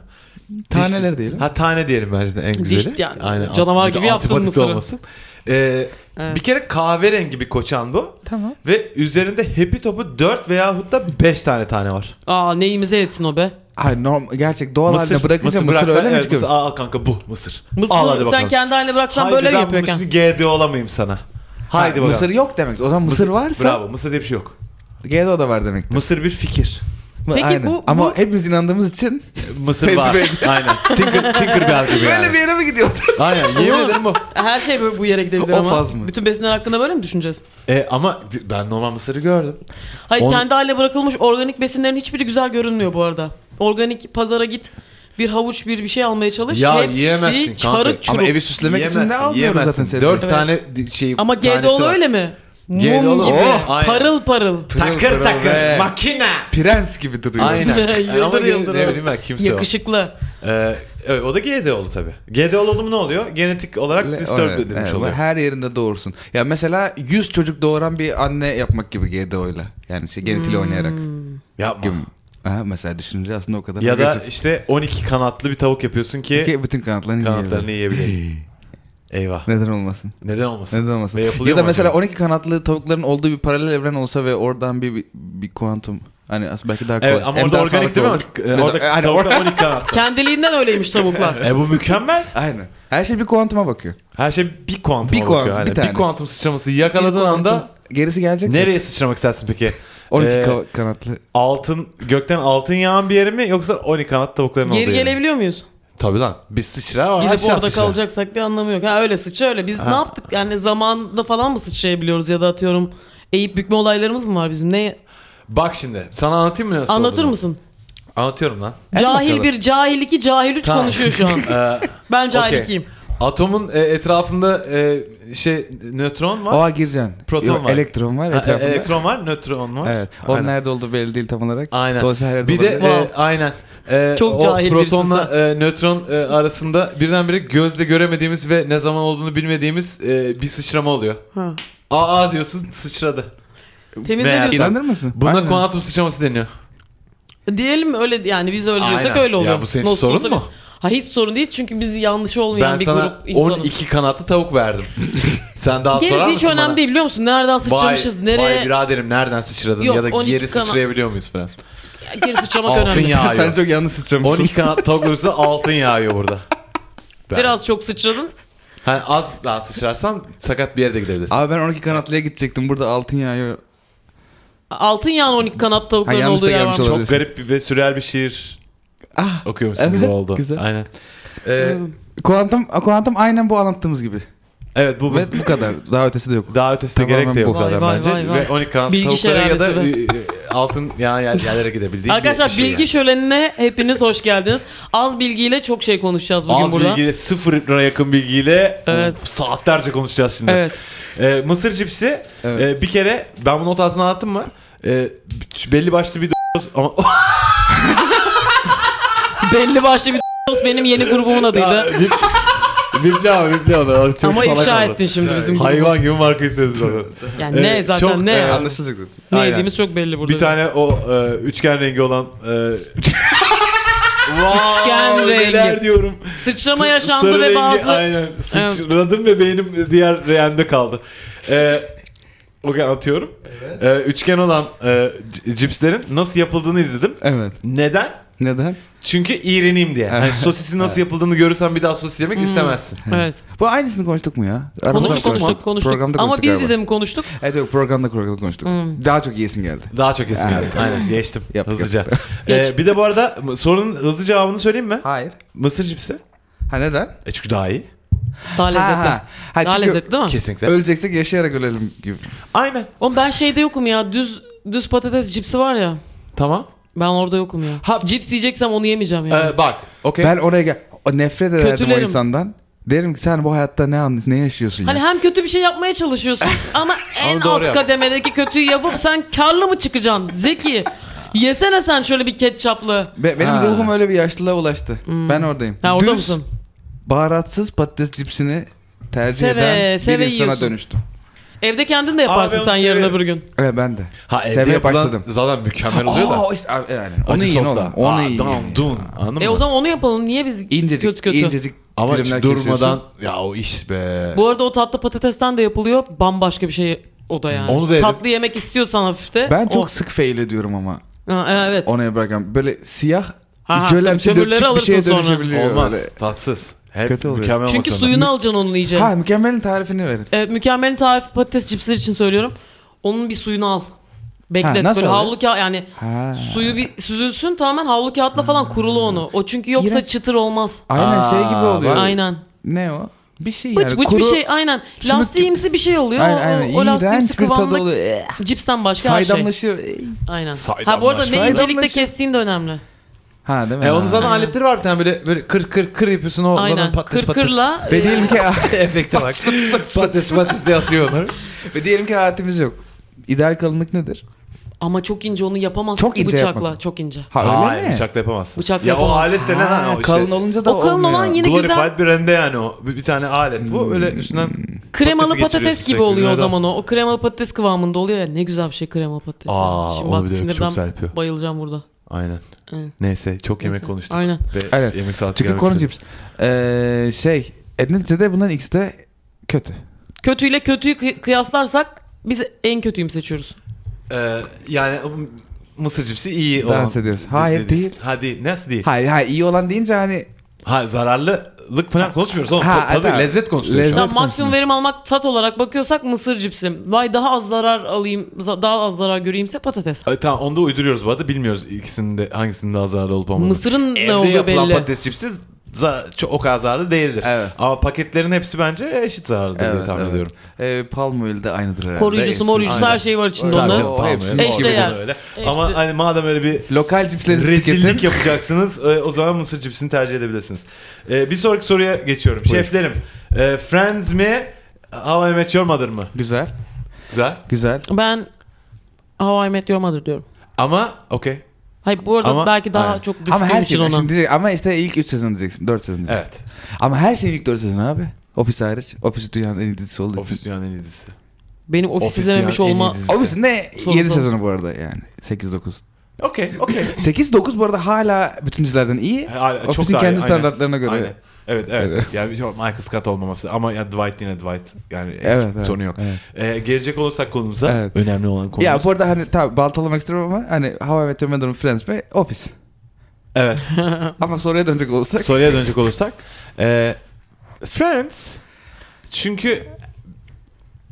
[SPEAKER 4] Taneler
[SPEAKER 2] Diş-
[SPEAKER 4] diyelim.
[SPEAKER 2] Ha tane diyelim bence de en güzeli.
[SPEAKER 3] yani. Canavar
[SPEAKER 2] Bir de
[SPEAKER 3] gibi yaptın
[SPEAKER 2] antipatik
[SPEAKER 3] mısırı.
[SPEAKER 2] olmasın. Ee,
[SPEAKER 3] Evet.
[SPEAKER 2] Bir kere kahverengi bir koçan bu.
[SPEAKER 4] Tamam.
[SPEAKER 2] Ve üzerinde happy topu 4 veyahut da 5 tane tane var.
[SPEAKER 3] Aa neyimize etsin o be.
[SPEAKER 4] Hayır norm gerçek doğal haline bırakınca mısır,
[SPEAKER 2] bıraksan-
[SPEAKER 4] öyle mi
[SPEAKER 2] evet,
[SPEAKER 4] çıkıyor?
[SPEAKER 2] Mısır, al kanka bu mısır.
[SPEAKER 3] Mısır
[SPEAKER 2] al hadi
[SPEAKER 3] sen
[SPEAKER 2] bakalım.
[SPEAKER 3] kendi haline bıraksan
[SPEAKER 2] Haydi
[SPEAKER 3] böyle mi
[SPEAKER 2] ben bunu
[SPEAKER 3] yapıyorken?
[SPEAKER 2] şimdi GD olamayayım sana.
[SPEAKER 4] Ha,
[SPEAKER 2] Haydi bakalım.
[SPEAKER 4] Mısır yok demek. O zaman mısır, varsa
[SPEAKER 2] Bravo mısır diye bir şey yok.
[SPEAKER 4] GDO da var demek.
[SPEAKER 2] Mısır bir fikir.
[SPEAKER 3] Peki
[SPEAKER 4] Aynen.
[SPEAKER 3] bu-
[SPEAKER 4] Ama
[SPEAKER 3] bu-
[SPEAKER 4] hepimiz inandığımız için
[SPEAKER 2] Mısır var.
[SPEAKER 4] Tecrübe-
[SPEAKER 2] Aynen. Tinker, Tinkerbell gibi yani.
[SPEAKER 4] böyle bir yere mi gidiyordu?
[SPEAKER 2] Aynen yemin ederim bu.
[SPEAKER 3] Her şey böyle bu yere gidebilir
[SPEAKER 4] O
[SPEAKER 3] ama.
[SPEAKER 4] faz mı?
[SPEAKER 3] Bütün besinler hakkında böyle mi düşüneceğiz?
[SPEAKER 2] E, ama ben normal mısırı gördüm.
[SPEAKER 3] Hayır
[SPEAKER 2] On-
[SPEAKER 3] kendi haline bırakılmış organik besinlerin hiçbiri güzel görünmüyor bu arada. Organik pazara git bir havuç bir bir şey almaya çalış.
[SPEAKER 2] Ya yiyemezsin
[SPEAKER 3] Hepsi
[SPEAKER 2] kanka.
[SPEAKER 3] çarık çuruk.
[SPEAKER 4] Ama
[SPEAKER 3] Ama,
[SPEAKER 4] evi süslemek için de almıyoruz zaten sebze.
[SPEAKER 2] Dört
[SPEAKER 3] Evet.
[SPEAKER 2] tane di- şey tanesi
[SPEAKER 3] GDO'lu
[SPEAKER 2] var.
[SPEAKER 3] öyle mi? Mum
[SPEAKER 2] GDO'lu,
[SPEAKER 3] gibi.
[SPEAKER 2] oh, aynen.
[SPEAKER 3] parıl parıl.
[SPEAKER 2] Takır
[SPEAKER 4] Pırıl
[SPEAKER 2] takır
[SPEAKER 4] pırıl ve-
[SPEAKER 2] makine.
[SPEAKER 4] Prens gibi duruyor.
[SPEAKER 2] Aynen.
[SPEAKER 3] Yıldır
[SPEAKER 2] Ama gene-
[SPEAKER 3] yıldır
[SPEAKER 2] Ne
[SPEAKER 3] o.
[SPEAKER 2] bileyim ben kimse o.
[SPEAKER 3] Yakışıklı.
[SPEAKER 2] Ee, evet, o da GDO'lu tabii. GDO'lu oldu mu ne oluyor? Genetik olarak
[SPEAKER 4] Le-
[SPEAKER 2] disturbed
[SPEAKER 4] evet,
[SPEAKER 2] edilmiş
[SPEAKER 4] evet,
[SPEAKER 2] oluyor.
[SPEAKER 4] Her yerinde doğursun. Ya mesela 100 çocuk doğuran bir anne yapmak gibi GDO'yla. Yani şey
[SPEAKER 3] Hmm.
[SPEAKER 4] genetiğiyle oynayarak.
[SPEAKER 2] Yapma.
[SPEAKER 4] Gibi. Ha, mesela düşününce aslında o kadar
[SPEAKER 2] Ya da
[SPEAKER 4] agresif.
[SPEAKER 2] işte 12 kanatlı bir tavuk yapıyorsun ki
[SPEAKER 4] Ki bütün kanatlarını,
[SPEAKER 2] kanatlarını
[SPEAKER 4] kanatlarını
[SPEAKER 2] yiyebilir. Eyvah.
[SPEAKER 4] Neden olmasın?
[SPEAKER 2] Neden olmasın?
[SPEAKER 4] Neden olmasın?
[SPEAKER 2] Ve yapılıyor
[SPEAKER 4] Ya da
[SPEAKER 2] mu
[SPEAKER 4] mesela
[SPEAKER 2] acaba?
[SPEAKER 4] 12 kanatlı tavukların olduğu bir paralel evren olsa ve oradan bir bir, bir kuantum hani aslında belki daha kolay.
[SPEAKER 2] Evet ama
[SPEAKER 4] hem
[SPEAKER 2] orada
[SPEAKER 4] daha
[SPEAKER 2] organik
[SPEAKER 4] sağlıklı
[SPEAKER 2] değil mi?
[SPEAKER 4] olur.
[SPEAKER 2] Ee,
[SPEAKER 4] Mesela-
[SPEAKER 2] Orada
[SPEAKER 4] hani
[SPEAKER 2] tavuklar
[SPEAKER 4] orada-
[SPEAKER 2] 12 kanat.
[SPEAKER 3] Kendiliğinden öyleymiş tavuklar.
[SPEAKER 2] E bu mükemmel.
[SPEAKER 4] Aynen. Her şey bir kuantuma bakıyor.
[SPEAKER 2] Her şey bir kuantum
[SPEAKER 4] Bir
[SPEAKER 2] bir
[SPEAKER 4] kuantum, bir
[SPEAKER 2] yani.
[SPEAKER 4] tane.
[SPEAKER 2] Bir kuantum sıçraması yakaladığın
[SPEAKER 4] Bir kuantum-
[SPEAKER 2] anda
[SPEAKER 4] gerisi gelecek.
[SPEAKER 2] nereye sıçramak istersin peki?
[SPEAKER 4] 12
[SPEAKER 2] Ee,
[SPEAKER 4] ka- kanatlı.
[SPEAKER 2] altın gökten altın yağan bir yere mi yoksa 12 kanat tavukların olduğu
[SPEAKER 3] Geri
[SPEAKER 2] yere mi?
[SPEAKER 3] gelebiliyor muyuz?
[SPEAKER 2] Tabii lan. Bir sıçra var. şey
[SPEAKER 3] Gidip
[SPEAKER 2] aşağı
[SPEAKER 3] orada
[SPEAKER 2] sıçra.
[SPEAKER 3] kalacaksak bir anlamı yok. Ha öyle sıçra öyle. Biz ne yaptık? Yani zamanda falan mı sıçrayabiliyoruz ya da atıyorum eğip bükme olaylarımız mı var bizim? Ne
[SPEAKER 2] Bak şimdi sana anlatayım mı nasıl
[SPEAKER 3] anlatır
[SPEAKER 2] olduğunu?
[SPEAKER 3] mısın?
[SPEAKER 2] Anlatıyorum lan.
[SPEAKER 3] Cahil
[SPEAKER 4] bakalım.
[SPEAKER 3] bir, cahil iki, cahil üç
[SPEAKER 2] Tamam.
[SPEAKER 3] konuşuyor şu an.
[SPEAKER 2] Ee,
[SPEAKER 3] Ben cahil
[SPEAKER 2] okey.
[SPEAKER 3] ikiyim.
[SPEAKER 2] Atomun e, etrafında e, şey nötron var.
[SPEAKER 4] Oha gireceksin.
[SPEAKER 2] Proton
[SPEAKER 4] Yok,
[SPEAKER 2] var.
[SPEAKER 4] Elektron var
[SPEAKER 2] Ha, e,
[SPEAKER 4] etrafında.
[SPEAKER 2] elektron var, nötron var.
[SPEAKER 4] Evet. Onun
[SPEAKER 2] Aynen.
[SPEAKER 4] nerede olduğu belli değil tam olarak.
[SPEAKER 2] Aynen.
[SPEAKER 4] Dolayısıyla her yerde
[SPEAKER 2] Bir de
[SPEAKER 4] olabilir.
[SPEAKER 2] e, aynen. E,
[SPEAKER 3] Çok
[SPEAKER 2] o
[SPEAKER 3] cahil
[SPEAKER 2] protonla
[SPEAKER 3] birisin
[SPEAKER 2] e, nötron e, arasında birdenbire gözle göremediğimiz ve ne zaman olduğunu bilmediğimiz e, bir sıçrama oluyor.
[SPEAKER 3] Ha.
[SPEAKER 2] Aa diyorsun sıçradı. Meğer-
[SPEAKER 3] Temizleniyorsak.
[SPEAKER 4] İnanır mısın?
[SPEAKER 2] Buna
[SPEAKER 4] Aynen.
[SPEAKER 2] kuantum sıçraması deniyor.
[SPEAKER 3] Diyelim öyle yani biz öyle
[SPEAKER 2] Aynen.
[SPEAKER 3] diyorsak öyle
[SPEAKER 2] Ya
[SPEAKER 3] oluyor.
[SPEAKER 2] bu senin
[SPEAKER 3] Nasıl
[SPEAKER 2] sorun
[SPEAKER 3] olsa
[SPEAKER 2] mu?
[SPEAKER 3] biz- Ha hiç sorun değil çünkü biz yanlış olmayan
[SPEAKER 2] ben
[SPEAKER 3] bir
[SPEAKER 2] sana
[SPEAKER 3] grup insanız.
[SPEAKER 2] 12 kanatlı tavuk verdim. Sen daha sorar
[SPEAKER 3] Gerisi hiç
[SPEAKER 2] mısın
[SPEAKER 3] önemli
[SPEAKER 2] bana?
[SPEAKER 3] değil biliyor musun? Nereden
[SPEAKER 2] Vay,
[SPEAKER 3] sıçramışız,
[SPEAKER 2] vay
[SPEAKER 3] nereye
[SPEAKER 2] biraderim nereden sıçradın
[SPEAKER 3] Yok,
[SPEAKER 2] ya da
[SPEAKER 3] 12
[SPEAKER 2] geri
[SPEAKER 3] kanat-
[SPEAKER 2] sıçrayabiliyor muyuz falan.
[SPEAKER 3] geri sıçramak
[SPEAKER 2] Altın
[SPEAKER 3] önemli.
[SPEAKER 2] ya-
[SPEAKER 4] Sen- Sen
[SPEAKER 2] yağıyor.
[SPEAKER 4] çok yanlış sıçramışsın.
[SPEAKER 2] 12 kanat tavuklar üstünde altın yağıyor burada. Ben-
[SPEAKER 3] Biraz çok sıçradın.
[SPEAKER 2] Hani az daha sıçrarsan sakat bir yere de gidebilirsin.
[SPEAKER 4] Abi ben 12 kanatlıya gidecektim. Burada altın yağıyor.
[SPEAKER 3] Altın yağın 12 kanat
[SPEAKER 4] Ha,
[SPEAKER 3] tavukların
[SPEAKER 4] yanlış da
[SPEAKER 3] olduğu yer
[SPEAKER 4] gelmiş
[SPEAKER 3] var.
[SPEAKER 4] olabilir.
[SPEAKER 2] Çok garip bir- ve sürreal bir şiir
[SPEAKER 4] Ah.
[SPEAKER 2] okuyormuşsun
[SPEAKER 4] Evet,
[SPEAKER 2] gibi oldu.
[SPEAKER 4] güzel.
[SPEAKER 2] Aynen. Ee,
[SPEAKER 4] Kuantum, kuantum aynen bu anlattığımız gibi.
[SPEAKER 2] evet bu, bu
[SPEAKER 4] Ve bu kadar. Daha ötesi de yok.
[SPEAKER 2] daha ötesi de
[SPEAKER 4] Tamamen
[SPEAKER 2] gerek de yok
[SPEAKER 4] bu.
[SPEAKER 2] zaten
[SPEAKER 3] Vay, vay,
[SPEAKER 2] bence.
[SPEAKER 3] vay, vay.
[SPEAKER 2] Ve 12 kanat
[SPEAKER 3] Bilgi
[SPEAKER 2] tavuklara ya da
[SPEAKER 3] şelalesi
[SPEAKER 2] e, e, altın yağan yer- yerlere gidebildiği bir
[SPEAKER 3] Arkadaşlar
[SPEAKER 2] şey
[SPEAKER 3] bilgi
[SPEAKER 2] yani.
[SPEAKER 3] şölenine hepiniz hoş geldiniz. Az bilgiyle çok şey konuşacağız bugün
[SPEAKER 2] Az
[SPEAKER 3] burada.
[SPEAKER 2] bilgiyle sıfırına yakın bilgiyle e,
[SPEAKER 3] Evet.
[SPEAKER 2] saatlerce konuşacağız şimdi.
[SPEAKER 3] Evet.
[SPEAKER 2] Ee, mısır cipsi
[SPEAKER 4] Evet.
[SPEAKER 2] e, bir kere ben bunu notasını anlattım mı? Ee, belli başlı bir d- ama
[SPEAKER 3] Belli başlı bir dost benim yeni grubumun adıydı.
[SPEAKER 2] Bipli abi bipli onu. Çok
[SPEAKER 3] Ama
[SPEAKER 2] salak
[SPEAKER 3] ifşa
[SPEAKER 2] oldu.
[SPEAKER 3] ettin şimdi bizim grubu.
[SPEAKER 2] Hayvan gibi markayı söyledin zaten.
[SPEAKER 3] Yani ne
[SPEAKER 2] Ee,
[SPEAKER 3] zaten
[SPEAKER 2] çok,
[SPEAKER 3] ne?
[SPEAKER 2] e,
[SPEAKER 3] ya?
[SPEAKER 4] Anlaşılacak zaten.
[SPEAKER 3] ne
[SPEAKER 2] aynen.
[SPEAKER 3] yediğimiz çok belli burada.
[SPEAKER 2] Bir tane o e, üçgen rengi olan e,
[SPEAKER 3] Üçgen
[SPEAKER 2] Wow,
[SPEAKER 3] rengi.
[SPEAKER 2] Neler diyorum.
[SPEAKER 3] Sıçrama
[SPEAKER 2] Sı-
[SPEAKER 3] yaşandı
[SPEAKER 2] sarı
[SPEAKER 3] ve
[SPEAKER 2] rengi,
[SPEAKER 3] bazı
[SPEAKER 2] Aynen. Sıçradım ve beynim diğer reyende kaldı. Ee, Okey anlatıyorum. Ee, üçgen olan e, c- cipslerin nasıl yapıldığını izledim.
[SPEAKER 4] Evet.
[SPEAKER 2] Neden?
[SPEAKER 4] Neden?
[SPEAKER 2] Çünkü iğreneyim diye. Yani sosisi nasıl yapıldığını görürsen bir daha sosis yemek
[SPEAKER 4] Hmm.
[SPEAKER 2] istemezsin.
[SPEAKER 3] Evet.
[SPEAKER 4] Bu aynısını konuştuk mu ya? Aramızda
[SPEAKER 3] Konuştuk konuştuk konuştuk.
[SPEAKER 4] Programda
[SPEAKER 3] Ama
[SPEAKER 4] konuştuk
[SPEAKER 3] biz Hmm.
[SPEAKER 4] galiba.
[SPEAKER 3] bize mi konuştuk?
[SPEAKER 4] Evet yok programda programda konuştuk. Daha çok yiyesin geldi.
[SPEAKER 2] Daha çok eski geldi. Aynen geçtim
[SPEAKER 4] Hmm. Yap, yap.
[SPEAKER 2] hızlıca. Ee, bir de bu arada sorunun hızlı cevabını söyleyeyim mi?
[SPEAKER 4] Hayır.
[SPEAKER 2] Mısır cipsi.
[SPEAKER 4] Ha neden?
[SPEAKER 2] E çünkü daha iyi.
[SPEAKER 3] Daha lezzetli.
[SPEAKER 4] ha.
[SPEAKER 3] Daha
[SPEAKER 4] Ha, çünkü-
[SPEAKER 3] lezzetli değil mi?
[SPEAKER 2] Kesinlikle.
[SPEAKER 4] Öleceksek yaşayarak ölelim gibi.
[SPEAKER 2] Aynen.
[SPEAKER 3] Oğlum ben şeyde yokum ya. Düz düz patates cipsi var ya.
[SPEAKER 2] Tamam.
[SPEAKER 3] Ben orada yokum ya.
[SPEAKER 2] Ha-
[SPEAKER 3] Cips yiyeceksem onu yemeyeceğim ya.
[SPEAKER 2] Ee, bak. Okey.
[SPEAKER 4] Ben oraya gel. O Nefret ederdim o
[SPEAKER 3] Kötülerim.
[SPEAKER 4] insandan. Derim ki sen bu hayatta ne anlıyorsun, ne yaşıyorsun
[SPEAKER 3] Hani
[SPEAKER 4] ya?
[SPEAKER 3] hem kötü bir şey yapmaya çalışıyorsun ama en
[SPEAKER 2] doğru
[SPEAKER 3] az
[SPEAKER 2] yap.
[SPEAKER 3] kademedeki kötüyü yapıp sen karlı mı çıkacaksın? Zeki. Yesene sen şöyle bir ketçaplı.
[SPEAKER 4] Be- benim
[SPEAKER 2] Ha.
[SPEAKER 4] ruhum öyle bir yaşlılığa ulaştı. Ben oradayım.
[SPEAKER 3] Hmm. Ha orada
[SPEAKER 4] Düz,
[SPEAKER 3] mısın?
[SPEAKER 4] Baharatsız patates cipsini tercih
[SPEAKER 3] Seve,
[SPEAKER 4] eden
[SPEAKER 3] seve
[SPEAKER 4] bir insana
[SPEAKER 3] yiyorsun.
[SPEAKER 4] dönüştüm.
[SPEAKER 3] Evde kendin de yaparsın
[SPEAKER 2] Abi ben
[SPEAKER 3] sen yarın
[SPEAKER 2] severim.
[SPEAKER 3] öbür gün.
[SPEAKER 4] Evet ben de.
[SPEAKER 2] Ha evde
[SPEAKER 4] Sevmeye
[SPEAKER 2] yapılan
[SPEAKER 4] başladım.
[SPEAKER 2] zaten mükemmel oluyor da.
[SPEAKER 4] Oo, işte, a- yani. Onu
[SPEAKER 2] Acı
[SPEAKER 4] yiyin
[SPEAKER 2] sosla.
[SPEAKER 4] oğlum. Onu
[SPEAKER 2] Aa,
[SPEAKER 4] yiyin.
[SPEAKER 2] Tamam dun. Anladın
[SPEAKER 3] E
[SPEAKER 2] mı?
[SPEAKER 3] o zaman onu yapalım. Niye biz
[SPEAKER 4] İncecik,
[SPEAKER 3] kötü kötü?
[SPEAKER 4] incecik
[SPEAKER 2] Ama hiç
[SPEAKER 4] dilimler
[SPEAKER 2] durmadan
[SPEAKER 4] kesiyorsun.
[SPEAKER 2] ya o iş be.
[SPEAKER 3] Bu arada o tatlı patatesten de yapılıyor. Bambaşka bir şey o da yani.
[SPEAKER 2] Onu da yedim.
[SPEAKER 3] tatlı yemek istiyorsan hafif de.
[SPEAKER 4] Ben çok
[SPEAKER 3] o.
[SPEAKER 4] sık fail ediyorum ama.
[SPEAKER 3] Ha, evet.
[SPEAKER 4] Ona bırakıyorum. Böyle siyah
[SPEAKER 3] Ha, ha,
[SPEAKER 4] jölemsi
[SPEAKER 3] kömürleri
[SPEAKER 4] löpçük bir
[SPEAKER 3] alırsın
[SPEAKER 4] şeye
[SPEAKER 3] sonra.
[SPEAKER 4] dönüşebiliyor.
[SPEAKER 2] Olmaz.
[SPEAKER 4] böyle.
[SPEAKER 2] Tatsız. Hep
[SPEAKER 4] Kötü oluyor.
[SPEAKER 2] mükemmel
[SPEAKER 3] Çünkü
[SPEAKER 2] olmak zorunda.
[SPEAKER 3] suyunu alacaksın onun iyice.
[SPEAKER 4] Ha mükemmelin tarifini verin.
[SPEAKER 3] Evet, Ee, mükemmelin tarifi patates cipsleri için söylüyorum. Onun bir suyunu al. Beklet.
[SPEAKER 4] Ha, nasıl
[SPEAKER 3] Böyle
[SPEAKER 4] oluyor?
[SPEAKER 3] havlu kağıt yani
[SPEAKER 4] Ha.
[SPEAKER 3] suyu bir süzülsün tamamen havlu kağıtla falan kurulu onu. O çünkü yoksa
[SPEAKER 4] İğrenç.
[SPEAKER 3] çıtır olmaz.
[SPEAKER 4] Aynen şey gibi
[SPEAKER 2] Aa,
[SPEAKER 4] oluyor.
[SPEAKER 2] bak.
[SPEAKER 3] Aynen.
[SPEAKER 4] Ne o? Bir şey
[SPEAKER 3] Bıç
[SPEAKER 4] yani.
[SPEAKER 3] bıç
[SPEAKER 4] kuru...
[SPEAKER 3] bir şey aynen.
[SPEAKER 4] Sümük
[SPEAKER 3] Lastiğimsi bir şey oluyor.
[SPEAKER 4] Aynen
[SPEAKER 3] O-
[SPEAKER 4] aynen.
[SPEAKER 3] O, o lastiğimsi
[SPEAKER 4] İğrenç bir tadı
[SPEAKER 3] kıvamlı
[SPEAKER 4] oluyor. Eh,
[SPEAKER 3] cipsten başka her şey.
[SPEAKER 4] Saydamlaşıyor. Eh.
[SPEAKER 3] Aynen. Ha bu arada
[SPEAKER 2] Saydamlaş-
[SPEAKER 3] ne incelikte
[SPEAKER 4] Saydamlaş-
[SPEAKER 3] kestiğin de önemli.
[SPEAKER 4] Ha değil mi?
[SPEAKER 2] E
[SPEAKER 4] Ha.
[SPEAKER 2] onun zaten aletleri var bir tane böyle böyle kır kır kır yapıyorsun o
[SPEAKER 3] Aynen.
[SPEAKER 2] zaman patates patates.
[SPEAKER 3] Kırkırla e,
[SPEAKER 4] Ve diyelim ki
[SPEAKER 2] Efekte bak. patates patates diye atıyor onları.
[SPEAKER 4] ve diyelim ki hayatımız yok. İdeal kalınlık nedir?
[SPEAKER 3] ama çok ince onu yapamazsın
[SPEAKER 4] Çok
[SPEAKER 3] ki
[SPEAKER 4] ince
[SPEAKER 3] bıçakla.
[SPEAKER 4] yapmak.
[SPEAKER 3] Çok ince.
[SPEAKER 4] Ha öyle
[SPEAKER 2] Hayır
[SPEAKER 4] mi?
[SPEAKER 2] bıçakla yapamazsın.
[SPEAKER 3] Bıçakla
[SPEAKER 2] ya
[SPEAKER 3] yapamazsın.
[SPEAKER 2] o alet de ne
[SPEAKER 4] Ha,
[SPEAKER 2] lan o işte.
[SPEAKER 4] kalın olunca da
[SPEAKER 3] O kalın
[SPEAKER 4] olmuyor.
[SPEAKER 3] olan yine
[SPEAKER 2] Glorified
[SPEAKER 3] güzel
[SPEAKER 2] bir rende yani o. Bir, bir tane alet
[SPEAKER 4] Hmm.
[SPEAKER 2] bu. Böyle üstünden
[SPEAKER 3] kremalı
[SPEAKER 2] patatesi
[SPEAKER 3] patates
[SPEAKER 2] geçiriyorsun
[SPEAKER 3] gibi
[SPEAKER 2] sürekli
[SPEAKER 3] oluyor o
[SPEAKER 2] üzerine.
[SPEAKER 3] zaman o. O kremalı patates kıvamında oluyor ya. Ne güzel bir şey kremalı patates. ya.
[SPEAKER 2] Aa,
[SPEAKER 3] Şimdi
[SPEAKER 2] onu
[SPEAKER 3] bak
[SPEAKER 2] bir de çok
[SPEAKER 3] sinirden
[SPEAKER 2] güzel yapıyor.
[SPEAKER 3] bayılacağım burada.
[SPEAKER 2] Aynen.
[SPEAKER 3] Evet.
[SPEAKER 2] Neyse çok yemek
[SPEAKER 3] Neyse.
[SPEAKER 2] konuştuk.
[SPEAKER 3] Aynen.
[SPEAKER 2] Ve
[SPEAKER 4] Aynen.
[SPEAKER 2] Yemek saati
[SPEAKER 4] Çünkü
[SPEAKER 2] gelmek
[SPEAKER 4] corn
[SPEAKER 2] üzere.
[SPEAKER 4] chips. Ee, şey e, neticede bunların ikisi de kötü.
[SPEAKER 3] Kötüyle kötüyü kıy- kıyaslarsak biz en kötüyü mü seçiyoruz?
[SPEAKER 2] Ee, yani m- mısır cipsi iyi olan.
[SPEAKER 4] Dans ediyoruz. Hayır,
[SPEAKER 2] dediniz.
[SPEAKER 4] değil.
[SPEAKER 2] Ha değil. Nasıl değil?
[SPEAKER 4] Hayır hayır iyi olan deyince hani
[SPEAKER 2] Ha zararlılık falan konuşmuyoruz oğlum.
[SPEAKER 4] Ha,
[SPEAKER 2] Ta- tadı
[SPEAKER 4] evet.
[SPEAKER 2] lezzet konuşuyoruz şu an.
[SPEAKER 4] Lezzet.
[SPEAKER 3] Tamam, maksimum verim almak tat olarak bakıyorsak mısır cipsi. Vay daha az zarar alayım, za- daha az zarar göreyimse patates.
[SPEAKER 2] Ay, tamam onu da uyduruyoruz bu arada. Bilmiyoruz ikisinin de hangisinin daha zararlı olup olmadığını.
[SPEAKER 3] Mısırın
[SPEAKER 2] Evde
[SPEAKER 3] ne olduğu
[SPEAKER 2] yapılan
[SPEAKER 3] belli.
[SPEAKER 2] patates cipsi za- çok o kadar zararlı değildir.
[SPEAKER 4] Evet.
[SPEAKER 2] Ama paketlerin hepsi bence eşit zararlı diye tahmin ediyorum.
[SPEAKER 4] Ee, palm oil de aynıdır herhalde.
[SPEAKER 3] Koruyucusu,
[SPEAKER 4] Hepsi-
[SPEAKER 3] moruyucusu
[SPEAKER 4] Aynen.
[SPEAKER 3] her şey var içinde
[SPEAKER 4] Tabii
[SPEAKER 2] Tabii
[SPEAKER 4] Ondan-
[SPEAKER 2] canım,
[SPEAKER 3] onun.
[SPEAKER 4] canım.
[SPEAKER 2] palm
[SPEAKER 4] Hepsi
[SPEAKER 2] oil,
[SPEAKER 3] eşdeğer.
[SPEAKER 2] palm oil öyle.
[SPEAKER 3] Hepsi-
[SPEAKER 2] Ama hani madem öyle bir
[SPEAKER 3] şey-
[SPEAKER 4] Lokal cipsleri tüketin.
[SPEAKER 2] rezillik yapacaksınız e, o zaman mısır cipsini tercih edebilirsiniz. E, bir sonraki soruya geçiyorum. Şeflerim e, Friends mi How I Met Your Mother mı?
[SPEAKER 4] Güzel.
[SPEAKER 2] Güzel.
[SPEAKER 4] Güzel.
[SPEAKER 3] Ben How I Met Your Mother diyorum.
[SPEAKER 2] Ama okey.
[SPEAKER 3] Hayır bu arada
[SPEAKER 2] Ama-
[SPEAKER 3] belki daha
[SPEAKER 2] Aynen.
[SPEAKER 3] çok düştüğüm
[SPEAKER 4] Ama her
[SPEAKER 3] için
[SPEAKER 4] şey.
[SPEAKER 3] ona.
[SPEAKER 4] Şimdi diyecek, ama işte ilk 3 sezon diyeceksin. 4 sezon diyeceksin.
[SPEAKER 2] Evet.
[SPEAKER 4] Ama her şeyin ilk 4 sezonu abi. Ofis hariç. Ofis dünyanın en iyi dizisi olduğu için.
[SPEAKER 2] Ofis dünyanın en iyi dizisi.
[SPEAKER 3] Benim ofis,
[SPEAKER 2] Ofis
[SPEAKER 3] izlememiş
[SPEAKER 2] dünyanın en
[SPEAKER 3] olma...
[SPEAKER 2] iyi dizisi.
[SPEAKER 4] Ofis'in de
[SPEAKER 3] Sonu
[SPEAKER 4] 7
[SPEAKER 3] sonu.
[SPEAKER 4] sezonu bu arada yani. 8-9.
[SPEAKER 2] Okey okey.
[SPEAKER 4] 8-9 bu arada hala bütün dizilerden iyi.
[SPEAKER 2] Hala- çok
[SPEAKER 4] Ofis'in
[SPEAKER 2] daha iyi,
[SPEAKER 4] kendi
[SPEAKER 2] aynen.
[SPEAKER 4] standartlarına göre.
[SPEAKER 2] Aynen. Evet evet.
[SPEAKER 4] Evet.
[SPEAKER 2] Yani bir şey- Michael Scott olmaması ama ya Dwight yine Dwight. Yani hiç
[SPEAKER 4] Evet, evet,
[SPEAKER 2] sorun yok.
[SPEAKER 4] evet.
[SPEAKER 2] E, gelecek olursak konumuza
[SPEAKER 4] Evet.
[SPEAKER 2] önemli olan konumuz.
[SPEAKER 4] Ya bu arada hani tabii baltalamak istiyorum ama hani How I Met Your Mother'ın Friends mi? Office.
[SPEAKER 2] Evet.
[SPEAKER 4] Ama soruya dönecek olursak.
[SPEAKER 2] Soruya dönecek olursak. Ee, Friends. Çünkü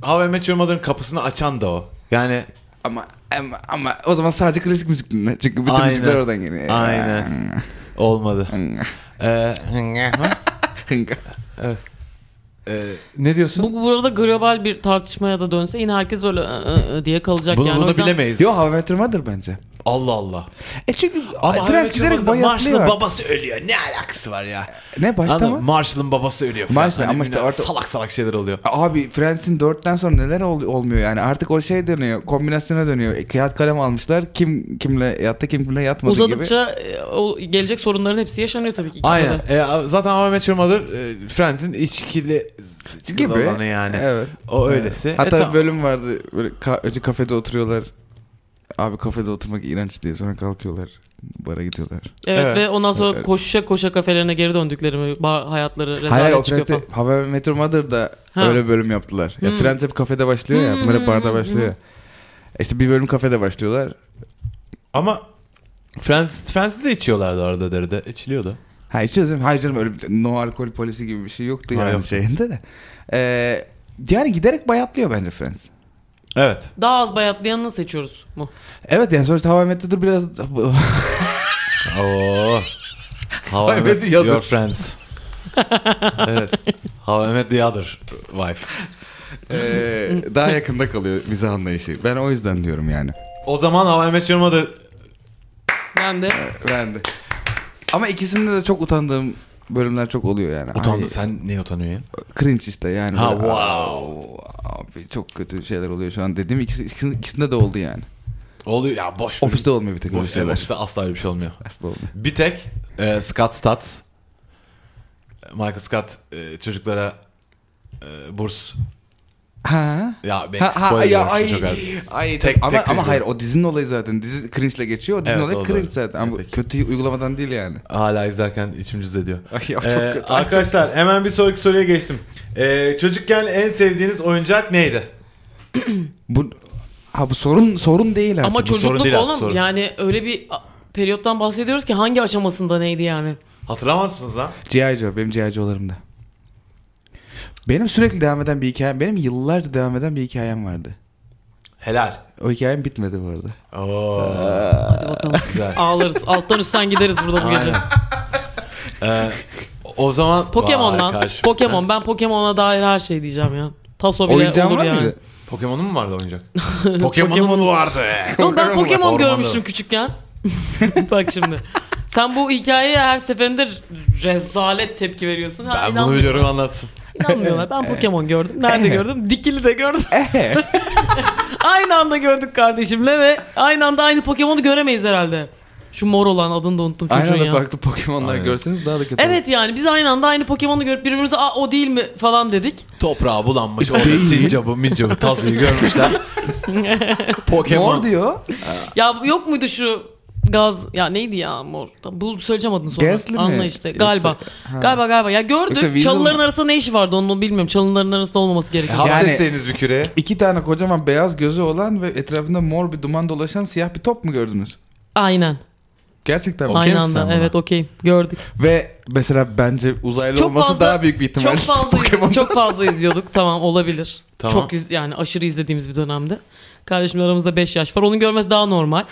[SPEAKER 2] How I Met Your Mother'ın kapısını açan da o. Yani
[SPEAKER 4] ama, ama, ama o zaman sadece klasik müzik dinle. Çünkü bütün
[SPEAKER 2] Aynen.
[SPEAKER 4] müzikler oradan geliyor.
[SPEAKER 2] Aynen. olmadı. Ee, e, ne diyorsun?
[SPEAKER 3] Bu burada global bir tartışmaya da dönse yine herkes böyle "Aa, aa" diye kalacak
[SPEAKER 2] Bunu,
[SPEAKER 3] yani. O
[SPEAKER 2] bunu
[SPEAKER 3] yüzden-
[SPEAKER 2] bilemeyiz.
[SPEAKER 4] Yo How I Met Your Mother bence.
[SPEAKER 2] Allah Allah.
[SPEAKER 4] E çünkü
[SPEAKER 2] Ama How I
[SPEAKER 4] Friends
[SPEAKER 2] Met Your
[SPEAKER 4] giderek
[SPEAKER 2] Mother'da Marshall'ın
[SPEAKER 4] bayatlıyor.
[SPEAKER 2] babası ölüyor. Ne alakası var ya?
[SPEAKER 4] ne başta
[SPEAKER 2] Anladın mı?
[SPEAKER 4] mı?
[SPEAKER 2] Marshall'ın babası ölüyor falan.
[SPEAKER 4] Marshall ama
[SPEAKER 2] Hani
[SPEAKER 4] işte
[SPEAKER 2] bilmem,
[SPEAKER 4] orta-
[SPEAKER 2] salak salak şeyler oluyor.
[SPEAKER 4] Abi Friends'in 4'ten sonra neler ol- olmuyor yani artık o şey dönüyor kombinasyona dönüyor E, kağıt kalem almışlar kim kimle yattı kim kimle yatmadı gibi.
[SPEAKER 3] Uzadıkça e, o gelecek sorunların hepsi yaşanıyor tabii ki. ikisinde
[SPEAKER 2] Aynen.
[SPEAKER 3] de.
[SPEAKER 2] E, zaten How I Met Your Mother e, Friends'in içkili
[SPEAKER 4] Gibi.
[SPEAKER 2] gibi. olanı yani.
[SPEAKER 4] Evet.
[SPEAKER 2] O öylesi. E,
[SPEAKER 4] Hatta
[SPEAKER 2] tamam.
[SPEAKER 4] bölüm vardı böyle ka- önce kafede oturuyorlar abi kafede oturmak iğrenç diye sonra kalkıyorlar bara gidiyorlar.
[SPEAKER 3] Evet,
[SPEAKER 2] Evet.
[SPEAKER 3] ve ondan sonra
[SPEAKER 4] Evet.
[SPEAKER 3] koşuşa koşa kafelerine geri döndükleri mi? Bar- hayatları rezalet
[SPEAKER 4] Hayır o
[SPEAKER 3] çıkıyor
[SPEAKER 4] Friends'te
[SPEAKER 3] falan.
[SPEAKER 4] How I Met Your Mother'da
[SPEAKER 3] Ha. Hmm.
[SPEAKER 4] öyle bölüm yaptılar. Ya Friends hep kafede başlıyor
[SPEAKER 3] Hmm.
[SPEAKER 4] ya bunlar hep barda başlıyor ya. İşte bir bölüm kafede başlıyorlar.
[SPEAKER 2] Ama Friends, Friends'de de içiyorlardı arada deride. İçiliyordu.
[SPEAKER 4] Ha içiyoruz değil mi? Hayır canım öyle bir- no alkol polisi gibi bir şey yoktu
[SPEAKER 2] Ha,
[SPEAKER 4] yani
[SPEAKER 2] yok.
[SPEAKER 4] şeyinde de. Ee, yani giderek bayatlıyor bence Friends.
[SPEAKER 2] Evet.
[SPEAKER 3] Daha az bayatlayanını seçiyoruz mu?
[SPEAKER 4] Evet yani sonuçta Hava Metro'dur biraz...
[SPEAKER 2] Oo. How I
[SPEAKER 4] Ahmet
[SPEAKER 2] Met
[SPEAKER 4] the Other.
[SPEAKER 2] Your Friends. evet. How I Met the Other Wife.
[SPEAKER 4] Ee, daha yakında kalıyor bize anlayışı. Ben o yüzden diyorum yani.
[SPEAKER 2] O zaman How I Met Your Mother.
[SPEAKER 3] Ben de.
[SPEAKER 4] Ben de. Ama ikisinde de çok utandığım bölümler çok oluyor yani.
[SPEAKER 2] Utandı.
[SPEAKER 4] Ay,
[SPEAKER 2] Sen niye utanıyorsun ya?
[SPEAKER 4] Cringe işte yani.
[SPEAKER 2] Ha,
[SPEAKER 4] Böyle,
[SPEAKER 2] wow.
[SPEAKER 4] "Aa, Abi çok kötü şeyler oluyor şu an dediğim ikisi, ikisinde, ikisinde de oldu yani.
[SPEAKER 2] Oluyor ya boş.
[SPEAKER 4] Ofiste olmuyor bir tek öyle
[SPEAKER 2] Boş
[SPEAKER 4] şeyler.
[SPEAKER 2] Ofiste asla öyle bir şey olmuyor.
[SPEAKER 4] Aslı olmuyor.
[SPEAKER 2] Bir tek e, Scott Stutz. Michael Scott e, çocuklara e, burs.
[SPEAKER 4] Ha?
[SPEAKER 2] Ya ben
[SPEAKER 4] Ha, ha,
[SPEAKER 2] spoiler
[SPEAKER 4] ya,
[SPEAKER 2] veriyorum
[SPEAKER 4] ay,
[SPEAKER 2] şu çok erken.
[SPEAKER 4] ay,
[SPEAKER 2] Tek-
[SPEAKER 4] ama,
[SPEAKER 2] tek cringe
[SPEAKER 4] ama hayır o dizinin olayı zaten. Dizi cringe'le geçiyor. O dizinin
[SPEAKER 2] Evet,
[SPEAKER 4] olayı
[SPEAKER 2] o
[SPEAKER 4] cringe
[SPEAKER 2] doğru.
[SPEAKER 4] zaten. Ama
[SPEAKER 2] Peki.
[SPEAKER 4] kötü uygulamadan değil yani.
[SPEAKER 2] Hala izlerken içim cız ediyor.
[SPEAKER 4] Ay, ya, çok
[SPEAKER 2] Ee,
[SPEAKER 4] kötü. Ay,
[SPEAKER 2] arkadaşlar hemen bir sonraki soruya geçtim. Ee, çocukken en sevdiğiniz oyuncak neydi?
[SPEAKER 4] Bu ha bu sorun sorun değil artık.
[SPEAKER 3] Ama
[SPEAKER 2] bu sorun
[SPEAKER 3] çocukluk
[SPEAKER 2] değil artık,
[SPEAKER 3] oğlum
[SPEAKER 2] sorun.
[SPEAKER 3] yani öyle bir a- periyottan bahsediyoruz ki hangi aşamasında neydi yani?
[SPEAKER 2] Hatırlamazsınız lan.
[SPEAKER 4] G.I. Joe. Benim G.I. Joe'larımda. Benim sürekli devam eden bir hikayem, benim yıllarca devam eden bir hikayem vardı.
[SPEAKER 2] Helal.
[SPEAKER 4] O hikayem bitmedi bu arada.
[SPEAKER 2] Oo,
[SPEAKER 3] Hadi bakalım.
[SPEAKER 2] güzel.
[SPEAKER 3] Ağlarız. Alttan üstten gideriz burada bu gece.
[SPEAKER 2] Aynen. Ee, o zaman
[SPEAKER 3] Pokemon
[SPEAKER 2] Vay
[SPEAKER 3] lan.
[SPEAKER 2] kardeşim.
[SPEAKER 3] Pokemon. Ben Pokemon'a dair her şey diyeceğim ya. Taso bile
[SPEAKER 4] Oyuncağın
[SPEAKER 3] olur
[SPEAKER 4] var
[SPEAKER 3] yani.
[SPEAKER 4] mıydı?
[SPEAKER 2] Pokemon'un mu vardı oyuncak? Pokemon'un vardı.
[SPEAKER 3] Oğlum ben
[SPEAKER 2] Ormanda.
[SPEAKER 3] Pokemon görmüştüm küçükken. Bak şimdi. Sen bu hikayeye her seferinde rezalet tepki veriyorsun. Ha,
[SPEAKER 2] Ben bunu
[SPEAKER 3] inanmıyor-
[SPEAKER 2] biliyorum anlatsın.
[SPEAKER 3] İnanmıyorlar. Ben Pokemon gördüm. Nerede gördüm? Dikili de gördüm.
[SPEAKER 2] Eh.
[SPEAKER 3] aynı anda gördük kardeşimle ve aynı anda aynı Pokemon'u göremeyiz herhalde. Şu mor olan adını da unuttum
[SPEAKER 4] Aynı
[SPEAKER 3] çocuğun
[SPEAKER 4] anda
[SPEAKER 3] ya.
[SPEAKER 4] farklı Pokemon'lar
[SPEAKER 2] Aynen.
[SPEAKER 4] görseniz daha da kötü.
[SPEAKER 3] Evet yani biz aynı anda aynı Pokemon'u görüp birbirimize aa o değil mi falan dedik.
[SPEAKER 2] Toprağa bulanmış orada
[SPEAKER 4] Değil.
[SPEAKER 2] sincabı mincabı tazıyı görmüşler. Pokemon.
[SPEAKER 4] Mor diyor.
[SPEAKER 3] Ya bu yok muydu şu gaz ya neydi ya mor? Tam bu söyleyeceğim adını sonra.
[SPEAKER 4] Gasly mi?
[SPEAKER 3] Anla işte
[SPEAKER 4] Yoksa-
[SPEAKER 3] galiba.
[SPEAKER 4] Ha.
[SPEAKER 3] Galiba galiba. Ya
[SPEAKER 4] Yoksa
[SPEAKER 3] gördük.
[SPEAKER 4] Weasel
[SPEAKER 3] Çalıların
[SPEAKER 4] mi?
[SPEAKER 3] arasında ne işi vardı onu bilmiyorum. Çalıların arasında olmaması
[SPEAKER 2] E,
[SPEAKER 3] gerekiyor.
[SPEAKER 2] hapsetseniz bir küreye.
[SPEAKER 4] İki tane kocaman beyaz gözü olan ve etrafında mor bir duman dolaşan siyah bir top mu gördünüz?
[SPEAKER 3] Aynen.
[SPEAKER 4] Gerçekten mi?
[SPEAKER 3] Aynı
[SPEAKER 4] Okey misin
[SPEAKER 3] anda.
[SPEAKER 4] sen buna?
[SPEAKER 3] Evet okey. Gördük.
[SPEAKER 4] Ve mesela bence uzaylı
[SPEAKER 3] Çok
[SPEAKER 4] olması
[SPEAKER 3] fazla-
[SPEAKER 4] daha büyük bir ihtimal.
[SPEAKER 3] Çok fazla
[SPEAKER 4] Pokemon'da.
[SPEAKER 3] iz- çok fazla izliyorduk. Tamam olabilir.
[SPEAKER 2] Tamam.
[SPEAKER 3] Çok iz- yani aşırı izlediğimiz bir dönemde. Kardeşimle aramızda 5 yaş var. Onun görmesi daha normal.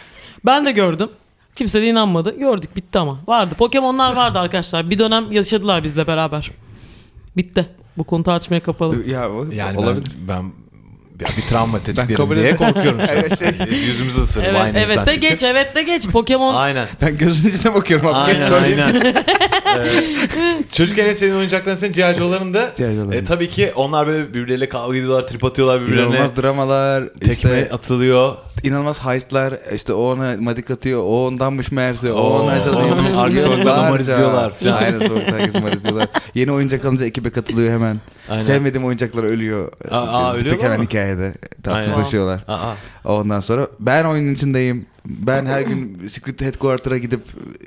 [SPEAKER 3] Ben de gördüm. Kimse de inanmadı. Gördük bitti ama. Vardı. Pokemon'lar vardı arkadaşlar. Bir dönem yaşadılar bizle beraber. Bitti. Bu konu tartışmaya kapalı.
[SPEAKER 4] Ya, o-
[SPEAKER 2] Yani
[SPEAKER 4] olabilir.
[SPEAKER 2] ben, ben ya bir travma tetiklerim
[SPEAKER 4] kabul
[SPEAKER 2] diye
[SPEAKER 4] ederim.
[SPEAKER 2] korkuyorum. şu an.
[SPEAKER 4] Evet, şey-
[SPEAKER 2] Yüzümüzü ısırır
[SPEAKER 3] Evet,
[SPEAKER 2] aynı
[SPEAKER 3] evet
[SPEAKER 2] insan
[SPEAKER 3] de
[SPEAKER 2] çünkü.
[SPEAKER 3] geç, evet de geç. Pokemon
[SPEAKER 2] Aynen.
[SPEAKER 4] Ben gözünün içine bakıyorum abi. Geç
[SPEAKER 2] Aynen
[SPEAKER 4] söyleyeyim.
[SPEAKER 2] aynen. Ee, çocukken en sevdiğin oyuncakların senin G.I. Joe'ların da
[SPEAKER 4] G.I. Joe'ların.
[SPEAKER 2] e, tabii ki onlar böyle birbirleriyle kavga ediyorlar, trip atıyorlar birbirlerine.
[SPEAKER 4] İnanılmaz dramalar,
[SPEAKER 2] Tekme
[SPEAKER 4] işte
[SPEAKER 2] atılıyor.
[SPEAKER 4] inanılmaz heistler, işte o ona madik atıyor, o ondanmış meğerse, o
[SPEAKER 2] Oo.
[SPEAKER 4] ona
[SPEAKER 2] Onun arka sokakta damar izliyorlar falan.
[SPEAKER 4] Aynen sokakta herkes damar izliyorlar. Yeni oyuncak alınca ekibe katılıyor hemen.
[SPEAKER 2] Aynen.
[SPEAKER 4] Sevmediğim oyuncaklar ölüyor.
[SPEAKER 2] Aa, aa,
[SPEAKER 4] Bir tek
[SPEAKER 2] ölüyorlar
[SPEAKER 4] hemen
[SPEAKER 2] mı?
[SPEAKER 4] hikayede tatsızlaşıyorlar.
[SPEAKER 2] Aa,
[SPEAKER 4] Ondan sonra ben oyunun içindeyim. Ben her gün Secret Headquarter'a gidip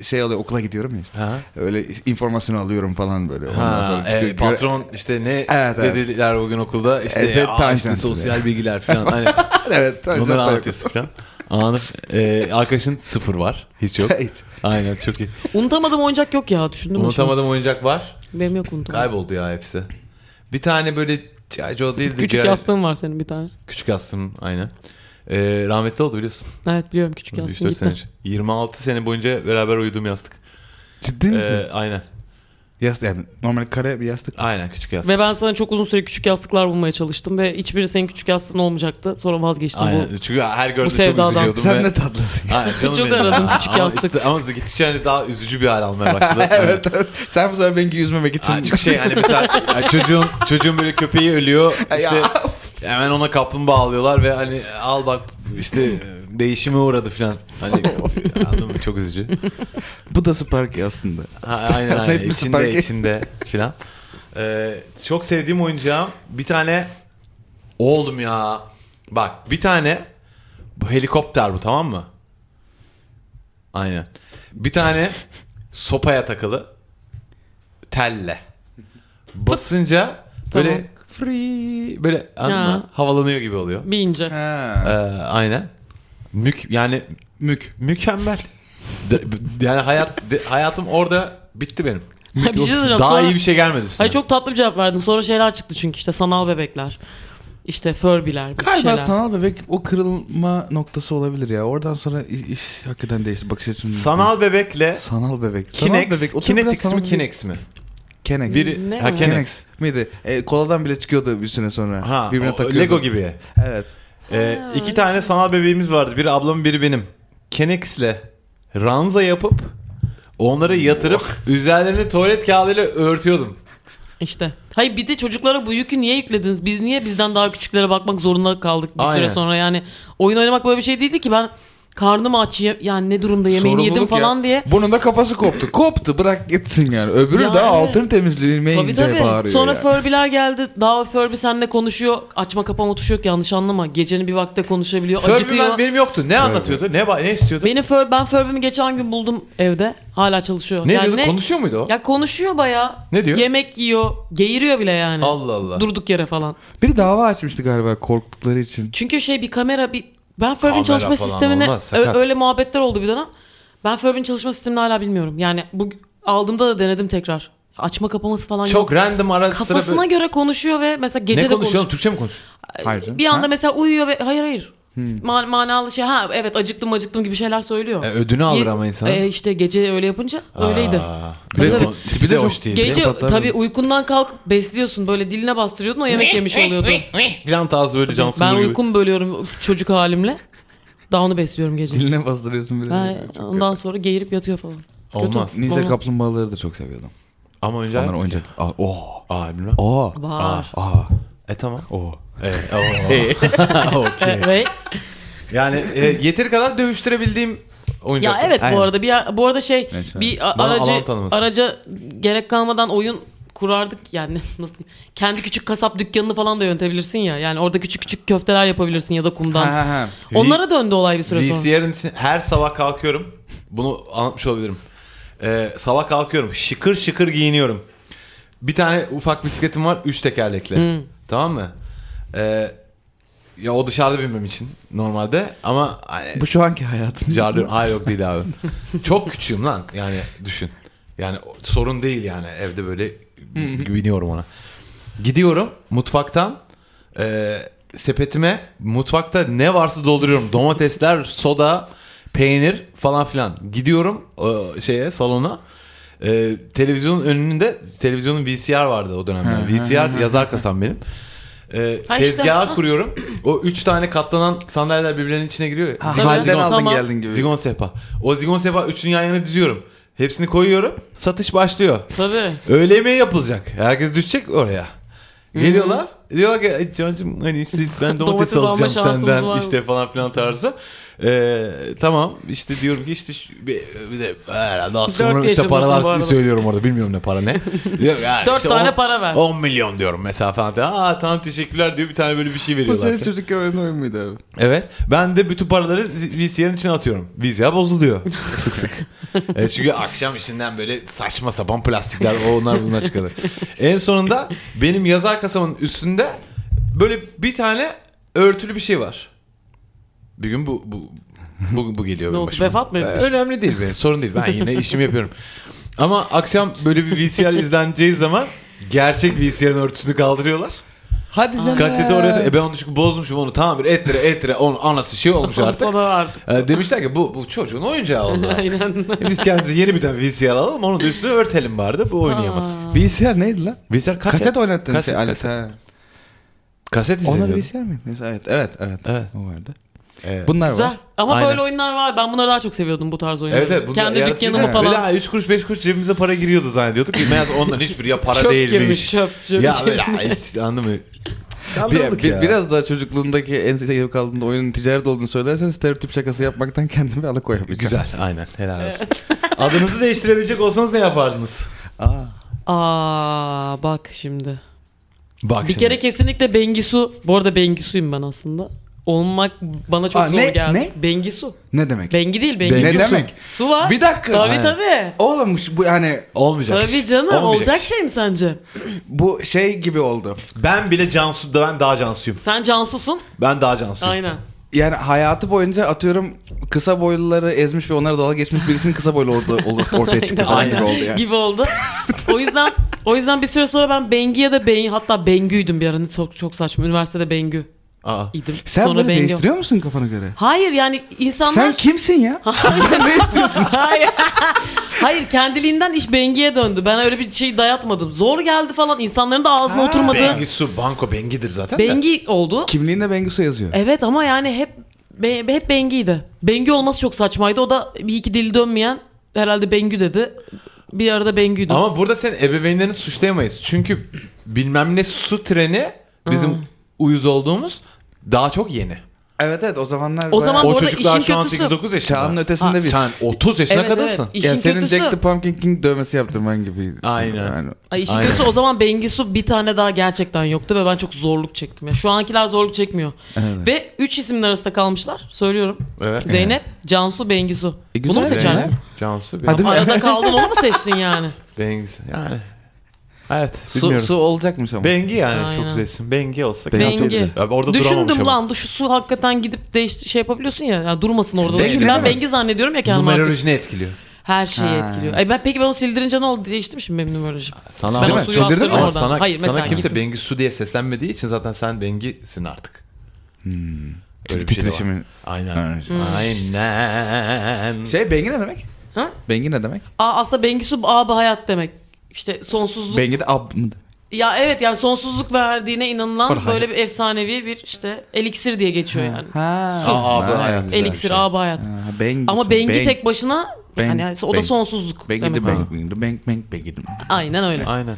[SPEAKER 4] şey oluyor okula gidiyorum ya işte.
[SPEAKER 2] ha.
[SPEAKER 4] Öyle informasyon alıyorum falan böyle. Ondan
[SPEAKER 2] Ha,
[SPEAKER 4] sonra
[SPEAKER 2] e,
[SPEAKER 4] çıkıyor-
[SPEAKER 2] patron işte ne
[SPEAKER 4] Evet, evet.
[SPEAKER 2] dediler bugün okulda işte,
[SPEAKER 4] Evet,
[SPEAKER 2] ya,
[SPEAKER 4] tanjant
[SPEAKER 2] işte
[SPEAKER 4] diyor.
[SPEAKER 2] sosyal bilgiler falan hani
[SPEAKER 4] evet.
[SPEAKER 2] bunları anlatıyorsun falan. Anladım. E, arkadaşın sıfır var. Hiç yok.
[SPEAKER 4] Hiç.
[SPEAKER 2] Aynen çok iyi.
[SPEAKER 3] unutamadığım oyuncak yok ya düşündüm. mü?
[SPEAKER 2] Unutamadığım oyuncak var.
[SPEAKER 3] şimdi? Benim yok unutamadım.
[SPEAKER 2] Kayboldu ya hepsi. Bir tane böyle G.I. Joe değildi.
[SPEAKER 3] Küçük
[SPEAKER 2] G.I.
[SPEAKER 3] yastığın var senin bir tane.
[SPEAKER 2] Küçük yastığım aynen. Ee, rahmetli oldu biliyorsun.
[SPEAKER 3] Evet biliyorum küçük
[SPEAKER 2] Üç,
[SPEAKER 3] yastığın
[SPEAKER 2] dört sene
[SPEAKER 3] gitti.
[SPEAKER 2] önce. 26 sene boyunca beraber uyuduğum yastık.
[SPEAKER 4] Ciddi misin?
[SPEAKER 2] Ee, aynen.
[SPEAKER 4] Yastık yani normal kare bir yastık.
[SPEAKER 2] Aynen küçük yastık.
[SPEAKER 3] Ve ben sana çok uzun süre küçük yastıklar bulmaya çalıştım ve hiçbiri senin küçük yastığın olmayacaktı. Sonra vazgeçtim
[SPEAKER 2] Aynen.
[SPEAKER 3] bu.
[SPEAKER 2] Çünkü her gördüğümde çok
[SPEAKER 3] sevdadan.
[SPEAKER 2] üzülüyordum.
[SPEAKER 4] Sen
[SPEAKER 2] ve...
[SPEAKER 4] ne tatlısın.
[SPEAKER 2] Aynen, canım
[SPEAKER 3] Çok
[SPEAKER 2] benim.
[SPEAKER 3] aradım küçük
[SPEAKER 2] Ama
[SPEAKER 3] yastık.
[SPEAKER 2] Işte, ama gittikçe hani daha üzücü bir hal almaya başladı.
[SPEAKER 4] evet, evet. Sen bu sefer benimki yüzmemek için.
[SPEAKER 2] Aynen. Çünkü şey hani mesela yani çocuğun çocuğun böyle köpeği ölüyor. İşte
[SPEAKER 4] Ya.
[SPEAKER 2] hemen ona kaplumbağa alıyorlar ve hani al bak işte e, değişime uğradı falan. Hani anladın mı? Çok üzücü.
[SPEAKER 4] bu da Sparky aslında.
[SPEAKER 2] Ha, aynen
[SPEAKER 4] Aslında
[SPEAKER 2] aynen.
[SPEAKER 4] hepimiz
[SPEAKER 2] İçinde,
[SPEAKER 4] Sparky.
[SPEAKER 2] içinde filan. Ee, çok sevdiğim oyuncağım bir tane oğlum ya. Bak bir tane bu helikopter bu tamam mı? Aynen. Bir tane sopaya takılı telle. Basınca böyle
[SPEAKER 3] Tamam.
[SPEAKER 2] free böyle anladın
[SPEAKER 3] Ya.
[SPEAKER 2] mı? havalanıyor gibi oluyor.
[SPEAKER 3] Bir ince.
[SPEAKER 2] Ee, aynen. Mük yani
[SPEAKER 4] Mük.
[SPEAKER 2] mükemmel. De- yani hayat de- hayatım orada bitti benim.
[SPEAKER 3] bir şey söyleyeceğim.
[SPEAKER 2] Daha
[SPEAKER 3] Sonra-
[SPEAKER 2] iyi bir şey gelmedi üstüne.
[SPEAKER 3] Hayır çok tatlı bir cevap verdin. Sonra şeyler çıktı çünkü işte sanal bebekler. İşte Furby'ler. bir
[SPEAKER 4] Galiba
[SPEAKER 3] şeyler.
[SPEAKER 4] sanal bebek o kırılma noktası olabilir ya. Oradan sonra i- iş, hakikaten değişti. Bakış açım.
[SPEAKER 2] Sanal bebekle
[SPEAKER 4] sanal bebek. Sanal
[SPEAKER 2] Kinex,
[SPEAKER 4] bebek. Otur biraz
[SPEAKER 2] Kinex
[SPEAKER 4] sanal
[SPEAKER 2] mi
[SPEAKER 4] bebek.
[SPEAKER 2] Kinex mi?
[SPEAKER 4] Kenex.
[SPEAKER 2] Biri,
[SPEAKER 3] Ne
[SPEAKER 2] ha,
[SPEAKER 3] o?
[SPEAKER 2] Kinex.
[SPEAKER 4] Kenex miydi? E, koladan bile çıkıyordu bir süre sonra.
[SPEAKER 2] Ha,
[SPEAKER 4] Birbirine
[SPEAKER 2] o-
[SPEAKER 4] takıyordu.
[SPEAKER 2] Lego gibi.
[SPEAKER 4] Evet.
[SPEAKER 2] Ee, iki tane sanal bebeğimiz vardı. Biri ablamın biri benim. Kenex'le ranza yapıp onları yatırıp
[SPEAKER 4] Oh.
[SPEAKER 2] üzerlerini tuvalet kağıdıyla örtüyordum.
[SPEAKER 3] İşte. Hayır bir de çocuklara bu yükü niye yüklediniz? Biz niye bizden daha küçüklere bakmak zorunda kaldık bir
[SPEAKER 2] Aynen.
[SPEAKER 3] süre sonra yani. Oyun oynamak böyle bir şey değildi ki ben karnım aç ye- yani ne durumda yemeğini yedim
[SPEAKER 4] Sorumluluk
[SPEAKER 3] falan
[SPEAKER 4] ya.
[SPEAKER 3] diye.
[SPEAKER 4] Bunun da kafası koptu. koptu bırak gitsin yani. Öbürü
[SPEAKER 3] Yani-
[SPEAKER 4] daha altını temizlemeyince
[SPEAKER 3] Tabii tabii.
[SPEAKER 4] bağırıyor
[SPEAKER 3] Sonra
[SPEAKER 4] yani.
[SPEAKER 3] Furby'ler geldi. Daha Furby seninle konuşuyor. Açma kapama tuşu yok yanlış anlama. Gecenin bir vakte konuşabiliyor.
[SPEAKER 2] Furby
[SPEAKER 3] acıkıyor.
[SPEAKER 2] ben benim yoktu. Ne anlatıyordu? Ne ba- ne istiyordu?
[SPEAKER 3] Beni Fur, ben Furby'mi geçen gün buldum evde. Hala çalışıyor.
[SPEAKER 2] ne
[SPEAKER 3] yani
[SPEAKER 2] diyordu? Konuşuyor muydu o?
[SPEAKER 3] Ya konuşuyor baya.
[SPEAKER 2] Ne diyor?
[SPEAKER 3] Yemek yiyor. Geğiriyor bile yani.
[SPEAKER 2] Allah Allah.
[SPEAKER 3] Durduk yere falan.
[SPEAKER 4] Biri dava açmıştı galiba korktukları için.
[SPEAKER 3] Çünkü şey bir kamera bir ben Furby'nin
[SPEAKER 2] Kamera
[SPEAKER 3] çalışma
[SPEAKER 2] falan
[SPEAKER 3] sistemine
[SPEAKER 2] olmaz,
[SPEAKER 3] ö-
[SPEAKER 2] sakat.
[SPEAKER 3] öyle muhabbetler oldu bir dönem. Ben Furby'nin çalışma sistemini hala bilmiyorum. Yani bu aldığımda da denedim tekrar. Açma kapaması falan yok.
[SPEAKER 2] Çok random ara sıra
[SPEAKER 3] Hani Kafasına
[SPEAKER 2] böyle-
[SPEAKER 3] göre konuşuyor ve mesela gece
[SPEAKER 2] ne
[SPEAKER 3] de
[SPEAKER 2] konuşuyor?
[SPEAKER 3] konuşuyor.
[SPEAKER 2] oğlum? Türkçe mi konuşuyor?
[SPEAKER 4] Hayır canım.
[SPEAKER 3] Bir anda
[SPEAKER 4] Ha?
[SPEAKER 3] mesela uyuyor ve hayır hayır. Ma- manalı şey ha evet acıktım acıktım gibi şeyler söylüyor.
[SPEAKER 2] Hmm. E, ödünü alır
[SPEAKER 3] Ye-
[SPEAKER 2] ama insan.
[SPEAKER 3] E, işte gece öyle yapınca öyleydi.
[SPEAKER 2] Aa,
[SPEAKER 4] Bir de
[SPEAKER 2] tabii.
[SPEAKER 4] tip- tipi de hoş değil.
[SPEAKER 3] Gece
[SPEAKER 4] Patlar
[SPEAKER 3] tabii
[SPEAKER 4] mı?
[SPEAKER 3] uykundan kalkıp besliyorsun böyle diline bastırıyordun o yemek yemiş oluyordu.
[SPEAKER 2] Plan tarzı böyle Cansu
[SPEAKER 3] ben
[SPEAKER 2] Nur gibi.
[SPEAKER 3] uykum bölüyorum çocuk halimle. Daha onu besliyorum gece.
[SPEAKER 4] Diline bastırıyorsun bir de.
[SPEAKER 3] Ha,
[SPEAKER 4] Çok
[SPEAKER 3] ondan sonra geğirip yatıyor falan. Kötü.
[SPEAKER 2] Olmaz.
[SPEAKER 4] Ninja
[SPEAKER 3] Olmaz.
[SPEAKER 4] kaplumbağaları da çok seviyordum.
[SPEAKER 2] Ama önce
[SPEAKER 4] Onlar oyuncak. Aa, Oo.
[SPEAKER 2] Aa bilmem.
[SPEAKER 4] Oo.
[SPEAKER 3] Var.
[SPEAKER 4] Aa.
[SPEAKER 2] E tamam.
[SPEAKER 4] Oo.
[SPEAKER 2] Evet. o- Okey.
[SPEAKER 3] E, ve-
[SPEAKER 2] Yani e, yeteri kadar dövüştürebildiğim oyuncak.
[SPEAKER 3] ya evet
[SPEAKER 4] Aynen.
[SPEAKER 3] bu arada bir yer- bu arada şey
[SPEAKER 4] Evet,
[SPEAKER 3] bir a-
[SPEAKER 2] Bana alan
[SPEAKER 3] aracı
[SPEAKER 2] tanıması.
[SPEAKER 3] araca gerek kalmadan oyun kurardık yani nasıl diyeyim? kendi küçük kasap dükkanını falan da yönetebilirsin ya. Yani orada küçük küçük köfteler yapabilirsin ya da kumdan.
[SPEAKER 4] Ha, ha, ha.
[SPEAKER 3] Onlara döndü olay bir süre sonra.
[SPEAKER 2] VCR'ın için her sabah kalkıyorum. Bunu anlatmış olabilirim. Ee, sabah kalkıyorum. Şıkır şıkır giyiniyorum. Bir tane ufak bisikletim var. Üç tekerlekli.
[SPEAKER 3] Hmm.
[SPEAKER 2] Tamam mı? Ee, ya o dışarıda binmem için normalde. Ama hani,
[SPEAKER 4] Bu E, şu anki hayatın.
[SPEAKER 2] Jardim Aa yok değil abi. Çok küçüğüm lan yani düşün. Yani o- sorun değil yani evde böyle güveniyorum ona. Gidiyorum mutfaktan e, sepetime mutfakta ne varsa dolduruyorum. Domatesler, soda, peynir falan filan. Gidiyorum e, şeye salona. E, televizyonun önünde televizyonun VCR vardı o dönemde. VCR yazar kasam benim. E,
[SPEAKER 3] Ha işte,
[SPEAKER 2] tezgaha
[SPEAKER 3] ha.
[SPEAKER 2] kuruyorum. O üç tane katlanan sandalyeler birbirlerinin içine giriyor. ya.
[SPEAKER 4] Ha,
[SPEAKER 2] Zigon-
[SPEAKER 3] Tabii.
[SPEAKER 4] Halden
[SPEAKER 2] zigon-
[SPEAKER 4] aldın
[SPEAKER 3] Tamam.
[SPEAKER 4] geldin gibi.
[SPEAKER 2] Zigon sehpa. O zigon sehpa üçünü yan yana diziyorum. Hepsini koyuyorum. Satış başlıyor.
[SPEAKER 3] Tabii.
[SPEAKER 2] Öğle yemeği yapılacak. Herkes düşecek oraya. Geliyorlar. Diyorlar ki "Ay Can'cığım hani işte ben domates
[SPEAKER 3] Domates alma
[SPEAKER 2] alacağım
[SPEAKER 3] şansımız
[SPEAKER 2] senden
[SPEAKER 3] var mı?"
[SPEAKER 2] işte falan filan tarzı. Ee, tamam işte diyorum ki işte şu- bir, bir de herhalde
[SPEAKER 3] Dört
[SPEAKER 2] aslında işte
[SPEAKER 3] yaşındasın bu
[SPEAKER 2] paralar
[SPEAKER 3] arada.
[SPEAKER 2] söylüyorum orada bilmiyorum ne para ne. Diyorum, yani
[SPEAKER 3] Dört
[SPEAKER 2] işte
[SPEAKER 3] tane
[SPEAKER 2] on-
[SPEAKER 3] para ver.
[SPEAKER 2] 10 milyon diyorum mesela falan. filan. Aa tamam teşekkürler diyor bir tane böyle bir şey
[SPEAKER 4] Bu
[SPEAKER 2] veriyorlar.
[SPEAKER 4] senin çocukken oynayan oyun muydu abi?
[SPEAKER 2] Evet. Ben de bütün paraları VCR'ın içine atıyorum. VCR bozuluyor sık sık. E, çünkü akşam işinden böyle saçma sapan plastikler o onlar bunlar çıkarır. en sonunda benim yazar kasamın üstünde böyle bir tane örtülü bir şey var. Bir gün bu bu bu, bu geliyor
[SPEAKER 3] Ne
[SPEAKER 2] benim
[SPEAKER 3] oldu,
[SPEAKER 2] başıma.
[SPEAKER 3] vefat mı
[SPEAKER 2] Ee,
[SPEAKER 3] etmiş?
[SPEAKER 2] Önemli değil benim sorun değil. Ben yine işimi yapıyorum. Ama akşam böyle bir VCR izleneceği zaman gerçek VCR'ın örtüsünü kaldırıyorlar.
[SPEAKER 4] Hadi sen.
[SPEAKER 2] Kaseti oraya e ben onu çünkü bozmuşum onu tamam bir ettire ettire onun anası şey olmuş artık.
[SPEAKER 3] Sana artık.
[SPEAKER 2] E, demişler ki bu, bu çocuğun oyuncağı oldu artık.
[SPEAKER 3] Aynen.
[SPEAKER 2] E Biz kendimize yeni bir tane VCR alalım onun da üstünü örtelim vardı bu oynayamaz.
[SPEAKER 4] VCR neydi lan?
[SPEAKER 2] VCR kaset.
[SPEAKER 4] Kaset oynattın
[SPEAKER 2] kaset,
[SPEAKER 4] şey.
[SPEAKER 2] Kaset,
[SPEAKER 4] Alex, ha.
[SPEAKER 2] kaset
[SPEAKER 4] Onlar
[SPEAKER 2] izliyordum.
[SPEAKER 4] VCR mıydı? Neyse evet. Evet. Evet.
[SPEAKER 2] Evet.
[SPEAKER 4] O vardı.
[SPEAKER 2] Evet.
[SPEAKER 4] Bunlar
[SPEAKER 3] Güzel.
[SPEAKER 4] var.
[SPEAKER 3] Ama
[SPEAKER 2] Aynen.
[SPEAKER 3] böyle oyunlar var. Ben bunları daha çok seviyordum bu tarz oyunları.
[SPEAKER 2] Evet evet. bunlar
[SPEAKER 3] Kendi
[SPEAKER 2] yaratıcı-
[SPEAKER 3] dükkanımı
[SPEAKER 2] Evet.
[SPEAKER 3] falan.
[SPEAKER 2] Böyle 3 kuruş 5 kuruş cebimize para giriyordu zannediyorduk. Meğer onların hiçbiri ya para
[SPEAKER 3] çöp
[SPEAKER 2] değilmiş.
[SPEAKER 3] girmiş. Çöp çöp.
[SPEAKER 2] Ya
[SPEAKER 3] çöp.
[SPEAKER 2] böyle ay, hiç anladın mı?
[SPEAKER 4] Bir,
[SPEAKER 2] Kandırıldık
[SPEAKER 4] bir-
[SPEAKER 2] ya.
[SPEAKER 4] biraz daha çocukluğundaki en sevdiğim kaldığında oyunun ticaret olduğunu söylersen stereotip şakası yapmaktan kendimi alıkoyamayacağım.
[SPEAKER 2] Güzel aynen helal olsun. Adınızı değiştirebilecek olsanız ne yapardınız?
[SPEAKER 4] Aa.
[SPEAKER 3] Aa bak şimdi.
[SPEAKER 2] Bak
[SPEAKER 3] Bir kere kesinlikle Bengisu. Bu arada Bengisuyum ben aslında. Olmak bana çok
[SPEAKER 4] Aa,
[SPEAKER 3] zor
[SPEAKER 4] ne-
[SPEAKER 3] geldi.
[SPEAKER 4] ne?
[SPEAKER 3] Bengisu.
[SPEAKER 4] Ne demek?
[SPEAKER 3] Bengi değil Bengisu.
[SPEAKER 4] ne
[SPEAKER 2] Bengisu.
[SPEAKER 4] demek?
[SPEAKER 3] Su var.
[SPEAKER 4] Bir dakika.
[SPEAKER 3] Tabii
[SPEAKER 4] Ha.
[SPEAKER 3] tabii.
[SPEAKER 4] Oğlum şu- bu yani
[SPEAKER 2] Olmayacak.
[SPEAKER 3] Tabii
[SPEAKER 2] iş.
[SPEAKER 3] canım
[SPEAKER 2] Olmayacak
[SPEAKER 3] olacak
[SPEAKER 2] iş.
[SPEAKER 3] şey mi sence?
[SPEAKER 4] bu şey gibi oldu.
[SPEAKER 2] Ben bile Cansu, ben daha Cansu'yum.
[SPEAKER 3] Sen Cansu'sun.
[SPEAKER 2] Ben daha Cansu'yum.
[SPEAKER 3] Aynen.
[SPEAKER 4] yani hayatı boyunca atıyorum kısa boyluları ezmiş ve onlara dalga geçmiş birisinin kısa boylu olduğu olur, ortaya çıktı falan gibi oldu yani.
[SPEAKER 3] Gibi oldu. o yüzden o yüzden bir süre sonra ben Bengi ya da Bengi hatta Bengü'ydüm bir ara. Hani Çok çok saçma. Üniversitede Bengü
[SPEAKER 2] Aa.
[SPEAKER 3] idim.
[SPEAKER 4] Sen
[SPEAKER 3] sonra
[SPEAKER 4] böyle
[SPEAKER 3] Bengi.
[SPEAKER 4] değiştiriyor musun kafana göre?
[SPEAKER 3] Hayır yani insanlar
[SPEAKER 4] Sen kimsin ya? Sen ne istiyorsun?
[SPEAKER 3] Hayır. Hayır kendiliğinden iş Bengi'ye döndü. Ben öyle bir şey dayatmadım. Zor geldi falan. İnsanların da ağzına
[SPEAKER 4] Ha.
[SPEAKER 3] oturmadı.
[SPEAKER 2] Bengi
[SPEAKER 3] Bengi,
[SPEAKER 2] su banko bengidir zaten de.
[SPEAKER 3] oldu.
[SPEAKER 4] Kimliğinde Bengisu yazıyor.
[SPEAKER 3] Evet ama yani hep be- hep Bengi'ydi. Bengi olması çok saçmaydı. O da bir iki dili dönmeyen herhalde Bengü dedi. Bir arada Bengü'ydü.
[SPEAKER 2] Ama burada sen ebeveynlerini suçlayamayız. Çünkü bilmem ne su treni bizim
[SPEAKER 3] Hmm.
[SPEAKER 2] uyuz olduğumuz daha çok yeni.
[SPEAKER 4] Evet evet o zamanlar
[SPEAKER 3] O zaman-
[SPEAKER 2] O
[SPEAKER 3] Bu arada
[SPEAKER 2] çocuklar
[SPEAKER 3] işin
[SPEAKER 2] şu an
[SPEAKER 3] kötüsü-
[SPEAKER 2] 8-9 yaşında.
[SPEAKER 4] çağının ötesinde bir.
[SPEAKER 2] Sen 30 yaşına
[SPEAKER 3] Evet,
[SPEAKER 2] kadınsın.
[SPEAKER 3] evet. İşin
[SPEAKER 4] ya senin
[SPEAKER 3] kötüsü-
[SPEAKER 4] Jack the Pumpkin King dövmesi yaptırman gibi.
[SPEAKER 2] Aynen.
[SPEAKER 4] Yani.
[SPEAKER 3] Ay işin
[SPEAKER 2] Aynen.
[SPEAKER 3] kötüsü o zaman Bengisu bir tane daha gerçekten yoktu ve ben çok zorluk çektim. Ya şu ankiler zorluk çekmiyor. Ve üç isimler arasında kalmışlar. Söylüyorum.
[SPEAKER 2] Evet.
[SPEAKER 3] Zeynep, Cansu, Bengisu.
[SPEAKER 4] E,
[SPEAKER 3] Bunu mu
[SPEAKER 4] güzel
[SPEAKER 3] seçersin?
[SPEAKER 4] yani.
[SPEAKER 2] Cansu bir
[SPEAKER 4] Hadi.
[SPEAKER 3] Arada kaldın onu mu seçtin yani?
[SPEAKER 2] Bengi yani. Evet
[SPEAKER 4] Su,
[SPEAKER 2] bilmiyorum.
[SPEAKER 4] su olacakmış ama.
[SPEAKER 2] Bengi yani
[SPEAKER 3] Aynen.
[SPEAKER 2] çok güzelsin. Bengi olsa.
[SPEAKER 4] Bengi.
[SPEAKER 2] Çok güzel. Abi orada duramamış
[SPEAKER 3] Düşündüm
[SPEAKER 2] ama.
[SPEAKER 3] lan şu su hakikaten gidip değiş şey yapabiliyorsun ya. ya durmasın orada.
[SPEAKER 4] Bengi
[SPEAKER 3] Çünkü
[SPEAKER 4] ne
[SPEAKER 3] ben
[SPEAKER 4] demek?
[SPEAKER 3] Bengi zannediyorum ya kendimi artık.
[SPEAKER 2] Numerolojini etkiliyor.
[SPEAKER 3] Her şeyi
[SPEAKER 4] Ha.
[SPEAKER 3] etkiliyor. Ay ben peki ben onu sildirince ne oldu? Değişti mi şimdi benim numerolojim?
[SPEAKER 2] Sana
[SPEAKER 3] Ben
[SPEAKER 4] o
[SPEAKER 2] ama-
[SPEAKER 4] suyu Sildirdin mi?
[SPEAKER 3] attırdım
[SPEAKER 2] Ama
[SPEAKER 3] oradan.
[SPEAKER 2] Sana,
[SPEAKER 3] Hayır,
[SPEAKER 2] sana
[SPEAKER 3] mesela
[SPEAKER 2] kimse
[SPEAKER 3] gittim.
[SPEAKER 2] Bengi Su diye seslenmediği için zaten sen Bengi'sin artık. Hmm.
[SPEAKER 4] Çünkü titreşimin-
[SPEAKER 2] Aynen.
[SPEAKER 4] Aynen.
[SPEAKER 3] Hmm.
[SPEAKER 2] Aynen.
[SPEAKER 4] Şey Bengi ne demek?
[SPEAKER 3] Ha?
[SPEAKER 4] Bengi ne demek?
[SPEAKER 3] Aa, aslında Bengisu abi hayat demek. İşte sonsuzluk.
[SPEAKER 4] Bengi de ab mı?
[SPEAKER 3] ya evet yani sonsuzluk verdiğine inanılan
[SPEAKER 2] Var, hayır.
[SPEAKER 3] böyle bir efsanevi bir işte eliksir diye geçiyor yani.
[SPEAKER 4] Ha. şey.
[SPEAKER 3] Su.
[SPEAKER 2] Aa, bu hayat. güzel bir
[SPEAKER 3] eliksir abi hayat.
[SPEAKER 4] Ha, Bengi.
[SPEAKER 3] Ama
[SPEAKER 4] su.
[SPEAKER 3] Bengi
[SPEAKER 4] Beng-
[SPEAKER 3] tek başına
[SPEAKER 4] Beng-
[SPEAKER 3] yani o da
[SPEAKER 4] Beng.
[SPEAKER 3] sonsuzluk.
[SPEAKER 4] Bengi
[SPEAKER 3] demek.
[SPEAKER 4] de Bengi. Bengi de Bengi. Bengi Bengi de.
[SPEAKER 3] Aynen öyle.
[SPEAKER 2] Aynen.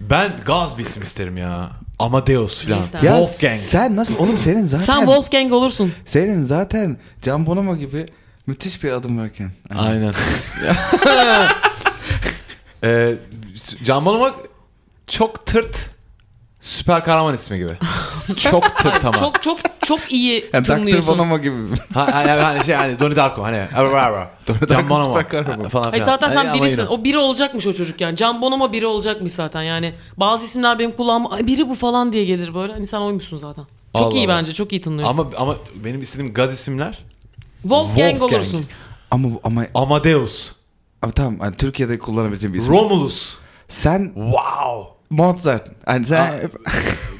[SPEAKER 2] Ben gaz bir isim isterim ya. Amadeus falan.
[SPEAKER 3] Neyse.
[SPEAKER 4] Ya
[SPEAKER 2] Wolfgang.
[SPEAKER 4] sen nasıl oğlum senin zaten
[SPEAKER 3] Sen Wolfgang olursun.
[SPEAKER 4] senin zaten Can Bonomo gibi müthiş bir adım varken.
[SPEAKER 2] Aynen. ee, Can Bonomo çok tırt süper kahraman ismi gibi. çok tırt ama.
[SPEAKER 3] Çok çok çok iyi
[SPEAKER 4] Yani Dr.
[SPEAKER 3] tınlıyorsun.
[SPEAKER 4] Bonomo gibi.
[SPEAKER 2] Ha, ha, ha, hani şey hani Donnie Darko hani. ara, ara, ara.
[SPEAKER 4] Donnie
[SPEAKER 2] Can
[SPEAKER 4] Darko
[SPEAKER 2] Bonomo.
[SPEAKER 4] süper kahraman.
[SPEAKER 2] Ha, Falan
[SPEAKER 3] Hayır
[SPEAKER 2] filan.
[SPEAKER 3] zaten sen
[SPEAKER 2] Hani ama
[SPEAKER 3] birisin.
[SPEAKER 2] yine.
[SPEAKER 3] O biri olacakmış o çocuk yani. Can Bonomo biri olacakmış zaten yani. Bazı isimler benim kulağıma "Ay, biri bu falan diye gelir böyle. Hani sen oymuşsun zaten. Çok
[SPEAKER 2] Allah
[SPEAKER 3] iyi
[SPEAKER 2] Allah.
[SPEAKER 3] bence. Çok iyi tınlıyor.
[SPEAKER 2] Ama ama benim istediğim gaz isimler
[SPEAKER 3] Wolfgang,
[SPEAKER 2] Wolfgang.
[SPEAKER 3] olursun.
[SPEAKER 4] ama ama
[SPEAKER 2] Amadeus,
[SPEAKER 4] Abi tamam hani Türkiye'de kullanabileceğim bir isim.
[SPEAKER 2] Romulus.
[SPEAKER 4] sen
[SPEAKER 2] Wow.
[SPEAKER 4] Mozart. Hani sen
[SPEAKER 2] Ha.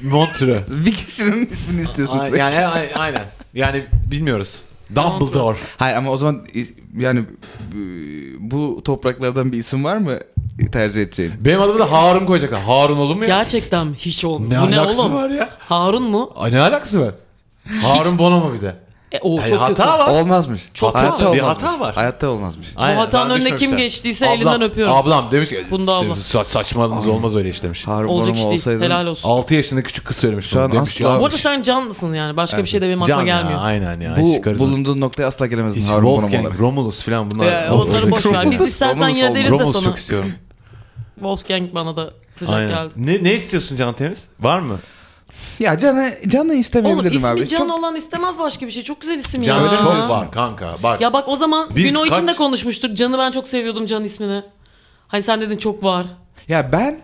[SPEAKER 2] Montre.
[SPEAKER 4] bir kişinin ismini istiyorsun
[SPEAKER 2] A-
[SPEAKER 4] sürekli.
[SPEAKER 2] yani a- aynen. Yani bilmiyoruz. Dumbledore.
[SPEAKER 4] Hayır ama o zaman is- yani bu topraklardan bir isim var mı tercih edeceğin?
[SPEAKER 2] Benim adımı da Harun koyacaklar. Harun olur mu ya?
[SPEAKER 3] Gerçekten mi? hiç olmuyor.
[SPEAKER 2] ne
[SPEAKER 3] bu ne
[SPEAKER 2] alakası
[SPEAKER 3] oğlum?
[SPEAKER 2] var ya?
[SPEAKER 3] Harun mu?
[SPEAKER 2] Ay, ne alakası var? Harun Bonomo bir de.
[SPEAKER 3] E, o
[SPEAKER 2] Ay,
[SPEAKER 3] çok
[SPEAKER 2] hata
[SPEAKER 3] kötü.
[SPEAKER 2] var.
[SPEAKER 4] Olmazmış.
[SPEAKER 2] Çok
[SPEAKER 4] Hayatta
[SPEAKER 2] hata- bir
[SPEAKER 4] olmazmış.
[SPEAKER 2] hata var.
[SPEAKER 4] Hayatta olmazmış.
[SPEAKER 2] Aynen,
[SPEAKER 3] O hatanın
[SPEAKER 2] sana
[SPEAKER 3] önüne kim
[SPEAKER 2] düşmemişler.
[SPEAKER 3] geçtiyse elinden öpüyorum.
[SPEAKER 2] Ablam demiş ki
[SPEAKER 3] Bunda abla.
[SPEAKER 2] "Sa- saçmalığınız olmaz öyle iş demiş.
[SPEAKER 4] Harun
[SPEAKER 3] Olacak
[SPEAKER 4] Bonomo
[SPEAKER 3] iş değil.
[SPEAKER 4] olsaydı-
[SPEAKER 3] Helal olsun.
[SPEAKER 2] 6 yaşında küçük kız söylemiş.
[SPEAKER 4] Şu an
[SPEAKER 2] Demiş,
[SPEAKER 4] asla-
[SPEAKER 2] "Ya,
[SPEAKER 3] Bu arada sen canlısın yani. Başka bir şey de benim aklıma
[SPEAKER 2] Can ya,
[SPEAKER 3] gelmiyor.
[SPEAKER 2] Aynen ya.
[SPEAKER 4] Bu
[SPEAKER 2] hiç karışma.
[SPEAKER 4] bulunduğun noktaya asla
[SPEAKER 2] Hiç
[SPEAKER 4] gelemezsin Harun Bonomo olarak.
[SPEAKER 2] Wolfgang, Romulus falan bunlar.
[SPEAKER 3] Ya, onları boş ver. Biz istersen
[SPEAKER 4] Romulus
[SPEAKER 3] yine
[SPEAKER 4] olmaz.
[SPEAKER 3] deriz de
[SPEAKER 2] Romulus
[SPEAKER 3] sana.
[SPEAKER 2] çok istiyorum.
[SPEAKER 3] Wolfgang bana da sıcak
[SPEAKER 2] Aynen.
[SPEAKER 3] geldi.
[SPEAKER 2] Ne, ne istiyorsun Can Temiz? Var mı?
[SPEAKER 4] Ya Can'ı Can'ı
[SPEAKER 3] Oğlum
[SPEAKER 4] istemeyebilirim
[SPEAKER 3] ismi
[SPEAKER 4] abi.
[SPEAKER 3] Can
[SPEAKER 4] Çok-
[SPEAKER 3] olan istemez başka bir şey. Çok güzel isim
[SPEAKER 2] Can
[SPEAKER 3] ya.
[SPEAKER 2] çok var kanka. Bak.
[SPEAKER 3] Ya bak o zaman
[SPEAKER 2] Biz
[SPEAKER 3] Güno için de
[SPEAKER 2] kaç-
[SPEAKER 3] konuşmuştuk. Can'ı ben çok seviyordum Can ismini. Hani sen dedin çok var.
[SPEAKER 4] Ya ben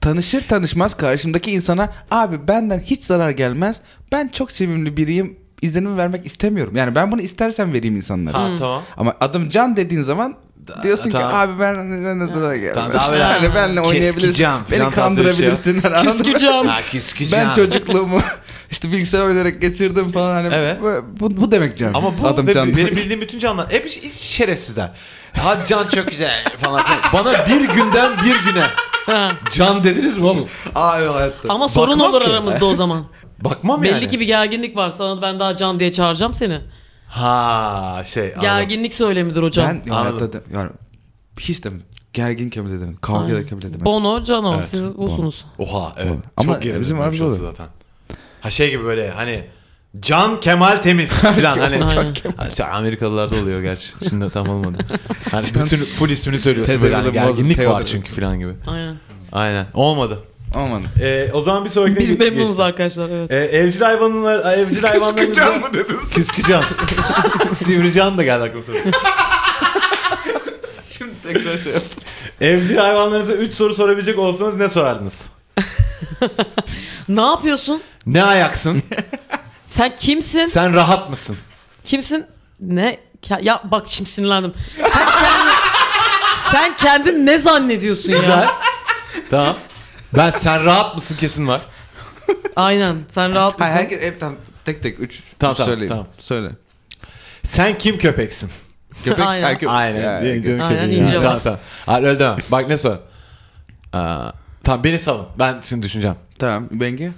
[SPEAKER 4] tanışır tanışmaz karşımdaki insana abi benden hiç zarar gelmez. Ben çok sevimli biriyim. izlenimi vermek istemiyorum. Yani ben bunu istersen vereyim insanlara.
[SPEAKER 2] ha, tamam.
[SPEAKER 4] Ama adım Can dediğin zaman diyorsun
[SPEAKER 2] tamam.
[SPEAKER 4] ki abi ben ben de zarar gelmez.
[SPEAKER 2] Tamam, daha böyle-
[SPEAKER 4] yani benle oynayabilirsin.
[SPEAKER 2] Keskicam falan
[SPEAKER 4] Beni
[SPEAKER 2] tarzı bir şey ya.
[SPEAKER 4] kandırabilirsin. anladın mı?
[SPEAKER 3] Küskü Can.
[SPEAKER 4] Ben çocukluğumu işte bilgisayar oynayarak geçirdim falan hani
[SPEAKER 2] Evet.
[SPEAKER 4] bu, bu, bu demek can.
[SPEAKER 2] Ama bu
[SPEAKER 4] adım
[SPEAKER 2] ve
[SPEAKER 4] can.
[SPEAKER 2] benim bildiğim bütün canlar hep iş- iş şerefsizler. Ha can çok güzel falan. filan. Bana bir günden bir güne
[SPEAKER 3] Ha.
[SPEAKER 2] can dediniz mi oğlum?
[SPEAKER 4] Aa evet hayatta.
[SPEAKER 3] Ama sorun
[SPEAKER 2] Bakmam
[SPEAKER 3] olur
[SPEAKER 2] ki.
[SPEAKER 3] aramızda o zaman.
[SPEAKER 2] Bakmam yani.
[SPEAKER 3] Belli ki bir gerginlik var. Sana ben daha Can diye çağıracağım seni.
[SPEAKER 2] Ha şey. anladım.
[SPEAKER 3] Gerginlik söylemidir hocam.
[SPEAKER 4] Ben
[SPEAKER 2] Anladım.
[SPEAKER 4] hayatta de, yani hiç demedim. Gerginken bile demedim. Kavga ederken bile demedim.
[SPEAKER 3] Bono, Cano
[SPEAKER 2] Evet,
[SPEAKER 3] siz busunuz.
[SPEAKER 2] Oha evet.
[SPEAKER 4] Ama
[SPEAKER 2] Çok geride
[SPEAKER 4] bizim
[SPEAKER 2] dönmüş
[SPEAKER 4] aramızda
[SPEAKER 2] orası
[SPEAKER 4] olur.
[SPEAKER 2] zaten. Ha şey gibi böyle hani Can Kemal Temiz falan hani
[SPEAKER 3] Aynen.
[SPEAKER 2] Hani şu Amerikalılarda oluyor gerçi. Şimdi tam olmadı. Hani bütün full ismini söylüyorsun
[SPEAKER 4] Ted
[SPEAKER 2] böyle hani
[SPEAKER 4] William Wallace,
[SPEAKER 2] gerginlik
[SPEAKER 4] Ted
[SPEAKER 2] var
[SPEAKER 4] William.
[SPEAKER 2] çünkü falan gibi.
[SPEAKER 3] Aynen.
[SPEAKER 2] Aynen. Olmadı.
[SPEAKER 4] Aman.
[SPEAKER 2] Ee, o zaman bir sonraki
[SPEAKER 3] Biz memnunuz arkadaşlar evet.
[SPEAKER 2] Ee, evcil hayvanlar evcil hayvanlarımızda
[SPEAKER 4] Can mı dedin?
[SPEAKER 2] Küskücan. Sivrican da geldi aklıma sonra.
[SPEAKER 4] Şimdi tekrar şey yaptım.
[SPEAKER 2] Evcil hayvanlarınıza 3 soru sorabilecek olsanız ne sorardınız?
[SPEAKER 3] Ne yapıyorsun?
[SPEAKER 2] Ne ayaksın?
[SPEAKER 3] Sen kimsin?
[SPEAKER 2] Sen rahat mısın?
[SPEAKER 3] Kimsin? Ne? Ke- Ya bak şimdi sinirlendim. Sen kendin, sen kendin ne zannediyorsun
[SPEAKER 2] Güzel.
[SPEAKER 3] ya?
[SPEAKER 2] tamam. Ben sen rahat mısın kesin var.
[SPEAKER 3] Aynen. Sen rahat mısın?
[SPEAKER 4] Hayır herkes hep tam tek tek üç.
[SPEAKER 2] Tamam,
[SPEAKER 4] üç
[SPEAKER 2] tamam,
[SPEAKER 4] söyleyin.
[SPEAKER 2] tamam.
[SPEAKER 4] Söyle.
[SPEAKER 2] Sen kim köpeksin?
[SPEAKER 4] Köpek
[SPEAKER 3] Aynen.
[SPEAKER 4] ay, köpek.
[SPEAKER 2] Aynen.
[SPEAKER 4] Ay,
[SPEAKER 2] Diye canım
[SPEAKER 3] Aynen,
[SPEAKER 2] köpeği ya.
[SPEAKER 3] ince
[SPEAKER 2] Tamam
[SPEAKER 3] var.
[SPEAKER 2] tamam. Hayır öyle demem. Bak ne sor. Aa, tamam beni salın. Ben şimdi düşüneceğim.
[SPEAKER 4] Tamam Bengi.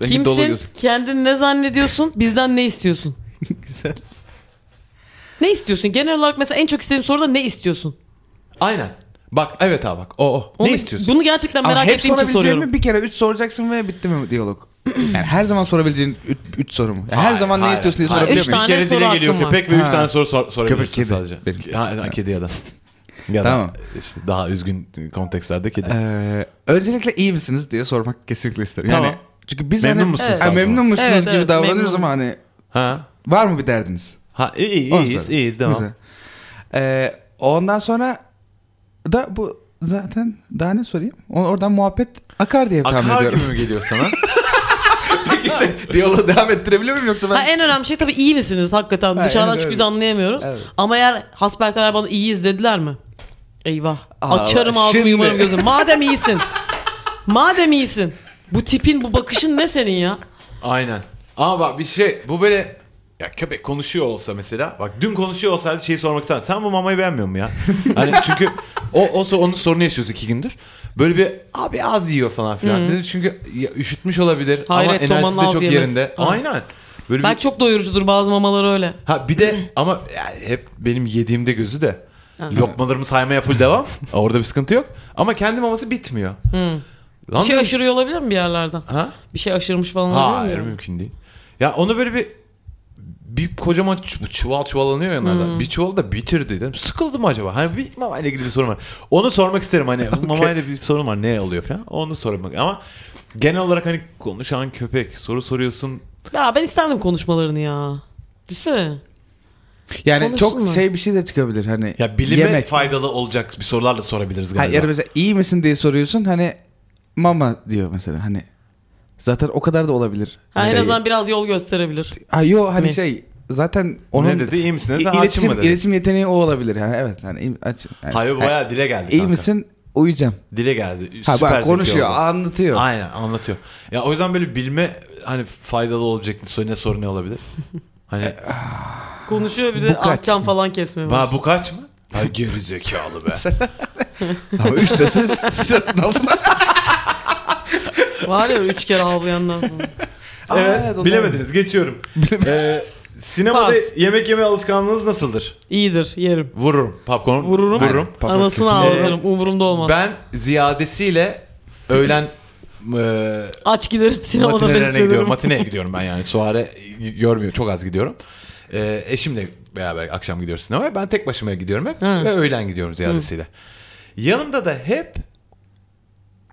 [SPEAKER 4] Bengi dolu
[SPEAKER 3] Kimsin?
[SPEAKER 4] gözü.
[SPEAKER 3] Kendin ne zannediyorsun? Bizden ne istiyorsun?
[SPEAKER 4] Güzel.
[SPEAKER 3] Ne istiyorsun? Genel olarak mesela en çok istediğim soruda ne istiyorsun?
[SPEAKER 2] Aynen. Bak evet abi bak. O o.
[SPEAKER 3] Onu-
[SPEAKER 2] ne istiyorsun?
[SPEAKER 3] Bunu gerçekten merak
[SPEAKER 4] Ama hep
[SPEAKER 3] ettiğim için
[SPEAKER 4] sorabileceğin
[SPEAKER 3] soruyorum.
[SPEAKER 4] mi? Bir kere üç soracaksın ve bitti mi diyalog? Yani her zaman sorabileceğin üç, üç soru mu? Yani her
[SPEAKER 2] Hayır,
[SPEAKER 4] zaman ne
[SPEAKER 2] hayır.
[SPEAKER 4] istiyorsun diye
[SPEAKER 2] Hayır,
[SPEAKER 4] sorabiliyor
[SPEAKER 3] üç
[SPEAKER 4] muyum?
[SPEAKER 3] tane
[SPEAKER 2] bir kere
[SPEAKER 3] soru
[SPEAKER 2] dile geliyor
[SPEAKER 3] hakkım var.
[SPEAKER 2] köpek ve 3
[SPEAKER 4] Ha.
[SPEAKER 2] tane soru sor, sorabiliyorsun
[SPEAKER 4] Köpek, kedi.
[SPEAKER 2] sadece.
[SPEAKER 4] Benim-
[SPEAKER 2] Ha, ha, kedi ya da. Ya
[SPEAKER 4] Tamam.
[SPEAKER 2] da işte daha üzgün kontekstlerde kedi.
[SPEAKER 4] Ee, öncelikle iyi misiniz diye sormak kesinlikle isterim. Yani,
[SPEAKER 2] Tamam.
[SPEAKER 4] Çünkü biz
[SPEAKER 2] Memnun
[SPEAKER 4] hani,
[SPEAKER 2] musunuz
[SPEAKER 4] Ha,
[SPEAKER 2] tarzı
[SPEAKER 4] memnun
[SPEAKER 2] mı?
[SPEAKER 4] musunuz
[SPEAKER 3] Evet,
[SPEAKER 4] gibi
[SPEAKER 3] evet,
[SPEAKER 4] davranıyoruz
[SPEAKER 3] memnunum.
[SPEAKER 4] ama hani
[SPEAKER 2] Ha.
[SPEAKER 4] var mı bir derdiniz?
[SPEAKER 2] Ha iyi, iyi
[SPEAKER 4] Onu
[SPEAKER 2] iyiyiz,
[SPEAKER 4] söyle.
[SPEAKER 2] iyiyiz devam.
[SPEAKER 4] Güzel. Ee, ondan sonra da bu zaten daha ne sorayım? O- Oradan muhabbet akar diye tahmin
[SPEAKER 2] Akar
[SPEAKER 4] ediyorum.
[SPEAKER 2] gibi mi geliyor sana?
[SPEAKER 4] Peki işte diyaloğu devam ettirebiliyor muyum yoksa ben...
[SPEAKER 3] Ha, en önemli şey tabii iyi misiniz hakikaten?
[SPEAKER 4] Ha,
[SPEAKER 3] Dışarıdan
[SPEAKER 4] evet,
[SPEAKER 3] çünkü
[SPEAKER 4] evet.
[SPEAKER 3] biz anlayamıyoruz.
[SPEAKER 4] Evet.
[SPEAKER 3] Ama eğer hasbelkader bana iyiyiz dediler mi? Eyvah.
[SPEAKER 4] Allah,
[SPEAKER 3] Açarım ağzımı
[SPEAKER 4] şimdi.
[SPEAKER 3] yumarım gözümü. Madem iyisin. madem iyisin. Bu tipin bu bakışın ne senin ya?
[SPEAKER 2] Aynen. Ama bak bir şey bu böyle ya köpek konuşuyor olsa mesela bak dün konuşuyor olsaydı şeyi sormak isterdim. Sen bu mamayı beğenmiyor musun ya? hani çünkü o, o sor- onun sorunu yaşıyoruz iki gündür. Böyle bir abi az yiyor falan filan dedim çünkü ya, üşütmüş olabilir
[SPEAKER 3] Hayret,
[SPEAKER 2] ama enerjisi
[SPEAKER 3] Toman'ın
[SPEAKER 2] de
[SPEAKER 3] az
[SPEAKER 2] çok
[SPEAKER 3] yemesi.
[SPEAKER 2] yerinde.
[SPEAKER 3] Aha.
[SPEAKER 2] Aynen. Böyle bir,
[SPEAKER 3] Belki çok doyurucudur bazı mamalar öyle. şey
[SPEAKER 2] ha bir de ama yani hep benim yediğimde gözü de lokmalarımı saymaya full devam. Orada bir sıkıntı yok. Ama kendi maması bitmiyor. Lan
[SPEAKER 3] Bir şey
[SPEAKER 2] dedim,
[SPEAKER 3] aşırıyor olabilir mi bir yerlerden?
[SPEAKER 2] ha?
[SPEAKER 3] Bir şey aşırmış falan
[SPEAKER 2] Hayır
[SPEAKER 3] olabilir mi?
[SPEAKER 2] mümkün değil. Ya onu böyle bir bir kocaman çu- çuval çuvalanıyor yanlarda. Bir çuval da bitirdi dedim. Sıkıldı mı acaba? Hani bir mamayla ilgili bir sorun var. Onu sormak isterim hani bu mamayla bir sorun var ne oluyor falan. Onu sormak ama genel olarak hani konuşan köpek soru soruyorsun.
[SPEAKER 3] Ya ben isterdim konuşmalarını ya. Düşsene.
[SPEAKER 4] yani
[SPEAKER 3] Konuşsun
[SPEAKER 4] çok
[SPEAKER 3] mu?
[SPEAKER 4] şey bir şey de çıkabilir hani
[SPEAKER 2] Ya bilime
[SPEAKER 4] yemek.
[SPEAKER 2] faydalı olacak bir sorularla sorabiliriz
[SPEAKER 4] Ha,
[SPEAKER 2] galiba.
[SPEAKER 4] yani mesela iyi misin diye soruyorsun hani mama diyor mesela hani zaten o kadar da olabilir.
[SPEAKER 3] Ha, en
[SPEAKER 4] Şey-
[SPEAKER 3] azından biraz yol gösterebilir.
[SPEAKER 4] Ha, yo hani
[SPEAKER 3] Mi?
[SPEAKER 4] şey zaten onun
[SPEAKER 2] onun... Ne dedi? İyi misin?
[SPEAKER 4] İ-
[SPEAKER 2] Dedi, "Sen açım
[SPEAKER 4] iletişim,
[SPEAKER 2] mı dedi?
[SPEAKER 4] iletişim yeteneği o olabilir yani evet hani iyi- aç, yani,
[SPEAKER 2] Hayır
[SPEAKER 4] yani,
[SPEAKER 2] bayağı dile geldi.
[SPEAKER 4] iyi
[SPEAKER 2] kanka.
[SPEAKER 4] misin uyuyacağım.
[SPEAKER 2] Dile geldi.
[SPEAKER 4] Ha
[SPEAKER 2] Süper
[SPEAKER 4] bak
[SPEAKER 2] zeki
[SPEAKER 4] konuşuyor
[SPEAKER 2] oldu.
[SPEAKER 4] anlatıyor.
[SPEAKER 2] Aynen anlatıyor. Ya o yüzden böyle bilme hani faydalı olacak ne soru ne olabilir? Hani
[SPEAKER 3] Konuşuyor bir de
[SPEAKER 4] Bu kaç?
[SPEAKER 3] ahkam falan kesmiyor.
[SPEAKER 2] ha, bu kaç mı? Ha geri zekalı be.
[SPEAKER 4] Ama üç de sı- sıçrasın altına.
[SPEAKER 3] Var ya üç kere havlayanlar falan.
[SPEAKER 4] Aa,
[SPEAKER 2] evet,
[SPEAKER 4] o da-
[SPEAKER 2] bilemediniz geçiyorum. Ee, sinemada
[SPEAKER 3] Pas.
[SPEAKER 2] yemek yeme alışkanlığınız nasıldır?
[SPEAKER 3] İyidir yerim.
[SPEAKER 2] Vururum. Popcorn
[SPEAKER 3] Vururum.
[SPEAKER 2] Vururum.
[SPEAKER 4] Aynen. Papa
[SPEAKER 3] Anasını
[SPEAKER 4] kesin.
[SPEAKER 3] ağlarım. Umurumda olmaz.
[SPEAKER 2] Ben ziyadesiyle öğlen e,
[SPEAKER 3] Aç giderim sinemada
[SPEAKER 2] matinelerine gidiyorum.
[SPEAKER 3] beslenirim.
[SPEAKER 2] Matineye gidiyorum ben yani. Suare görmüyor. Çok az gidiyorum. Ee, eşimle beraber akşam gidiyoruz sinemaya. Ben tek başıma gidiyorum hep.
[SPEAKER 3] Hı.
[SPEAKER 2] Ve öğlen gidiyorum ziyadesiyle. Yanımda da hep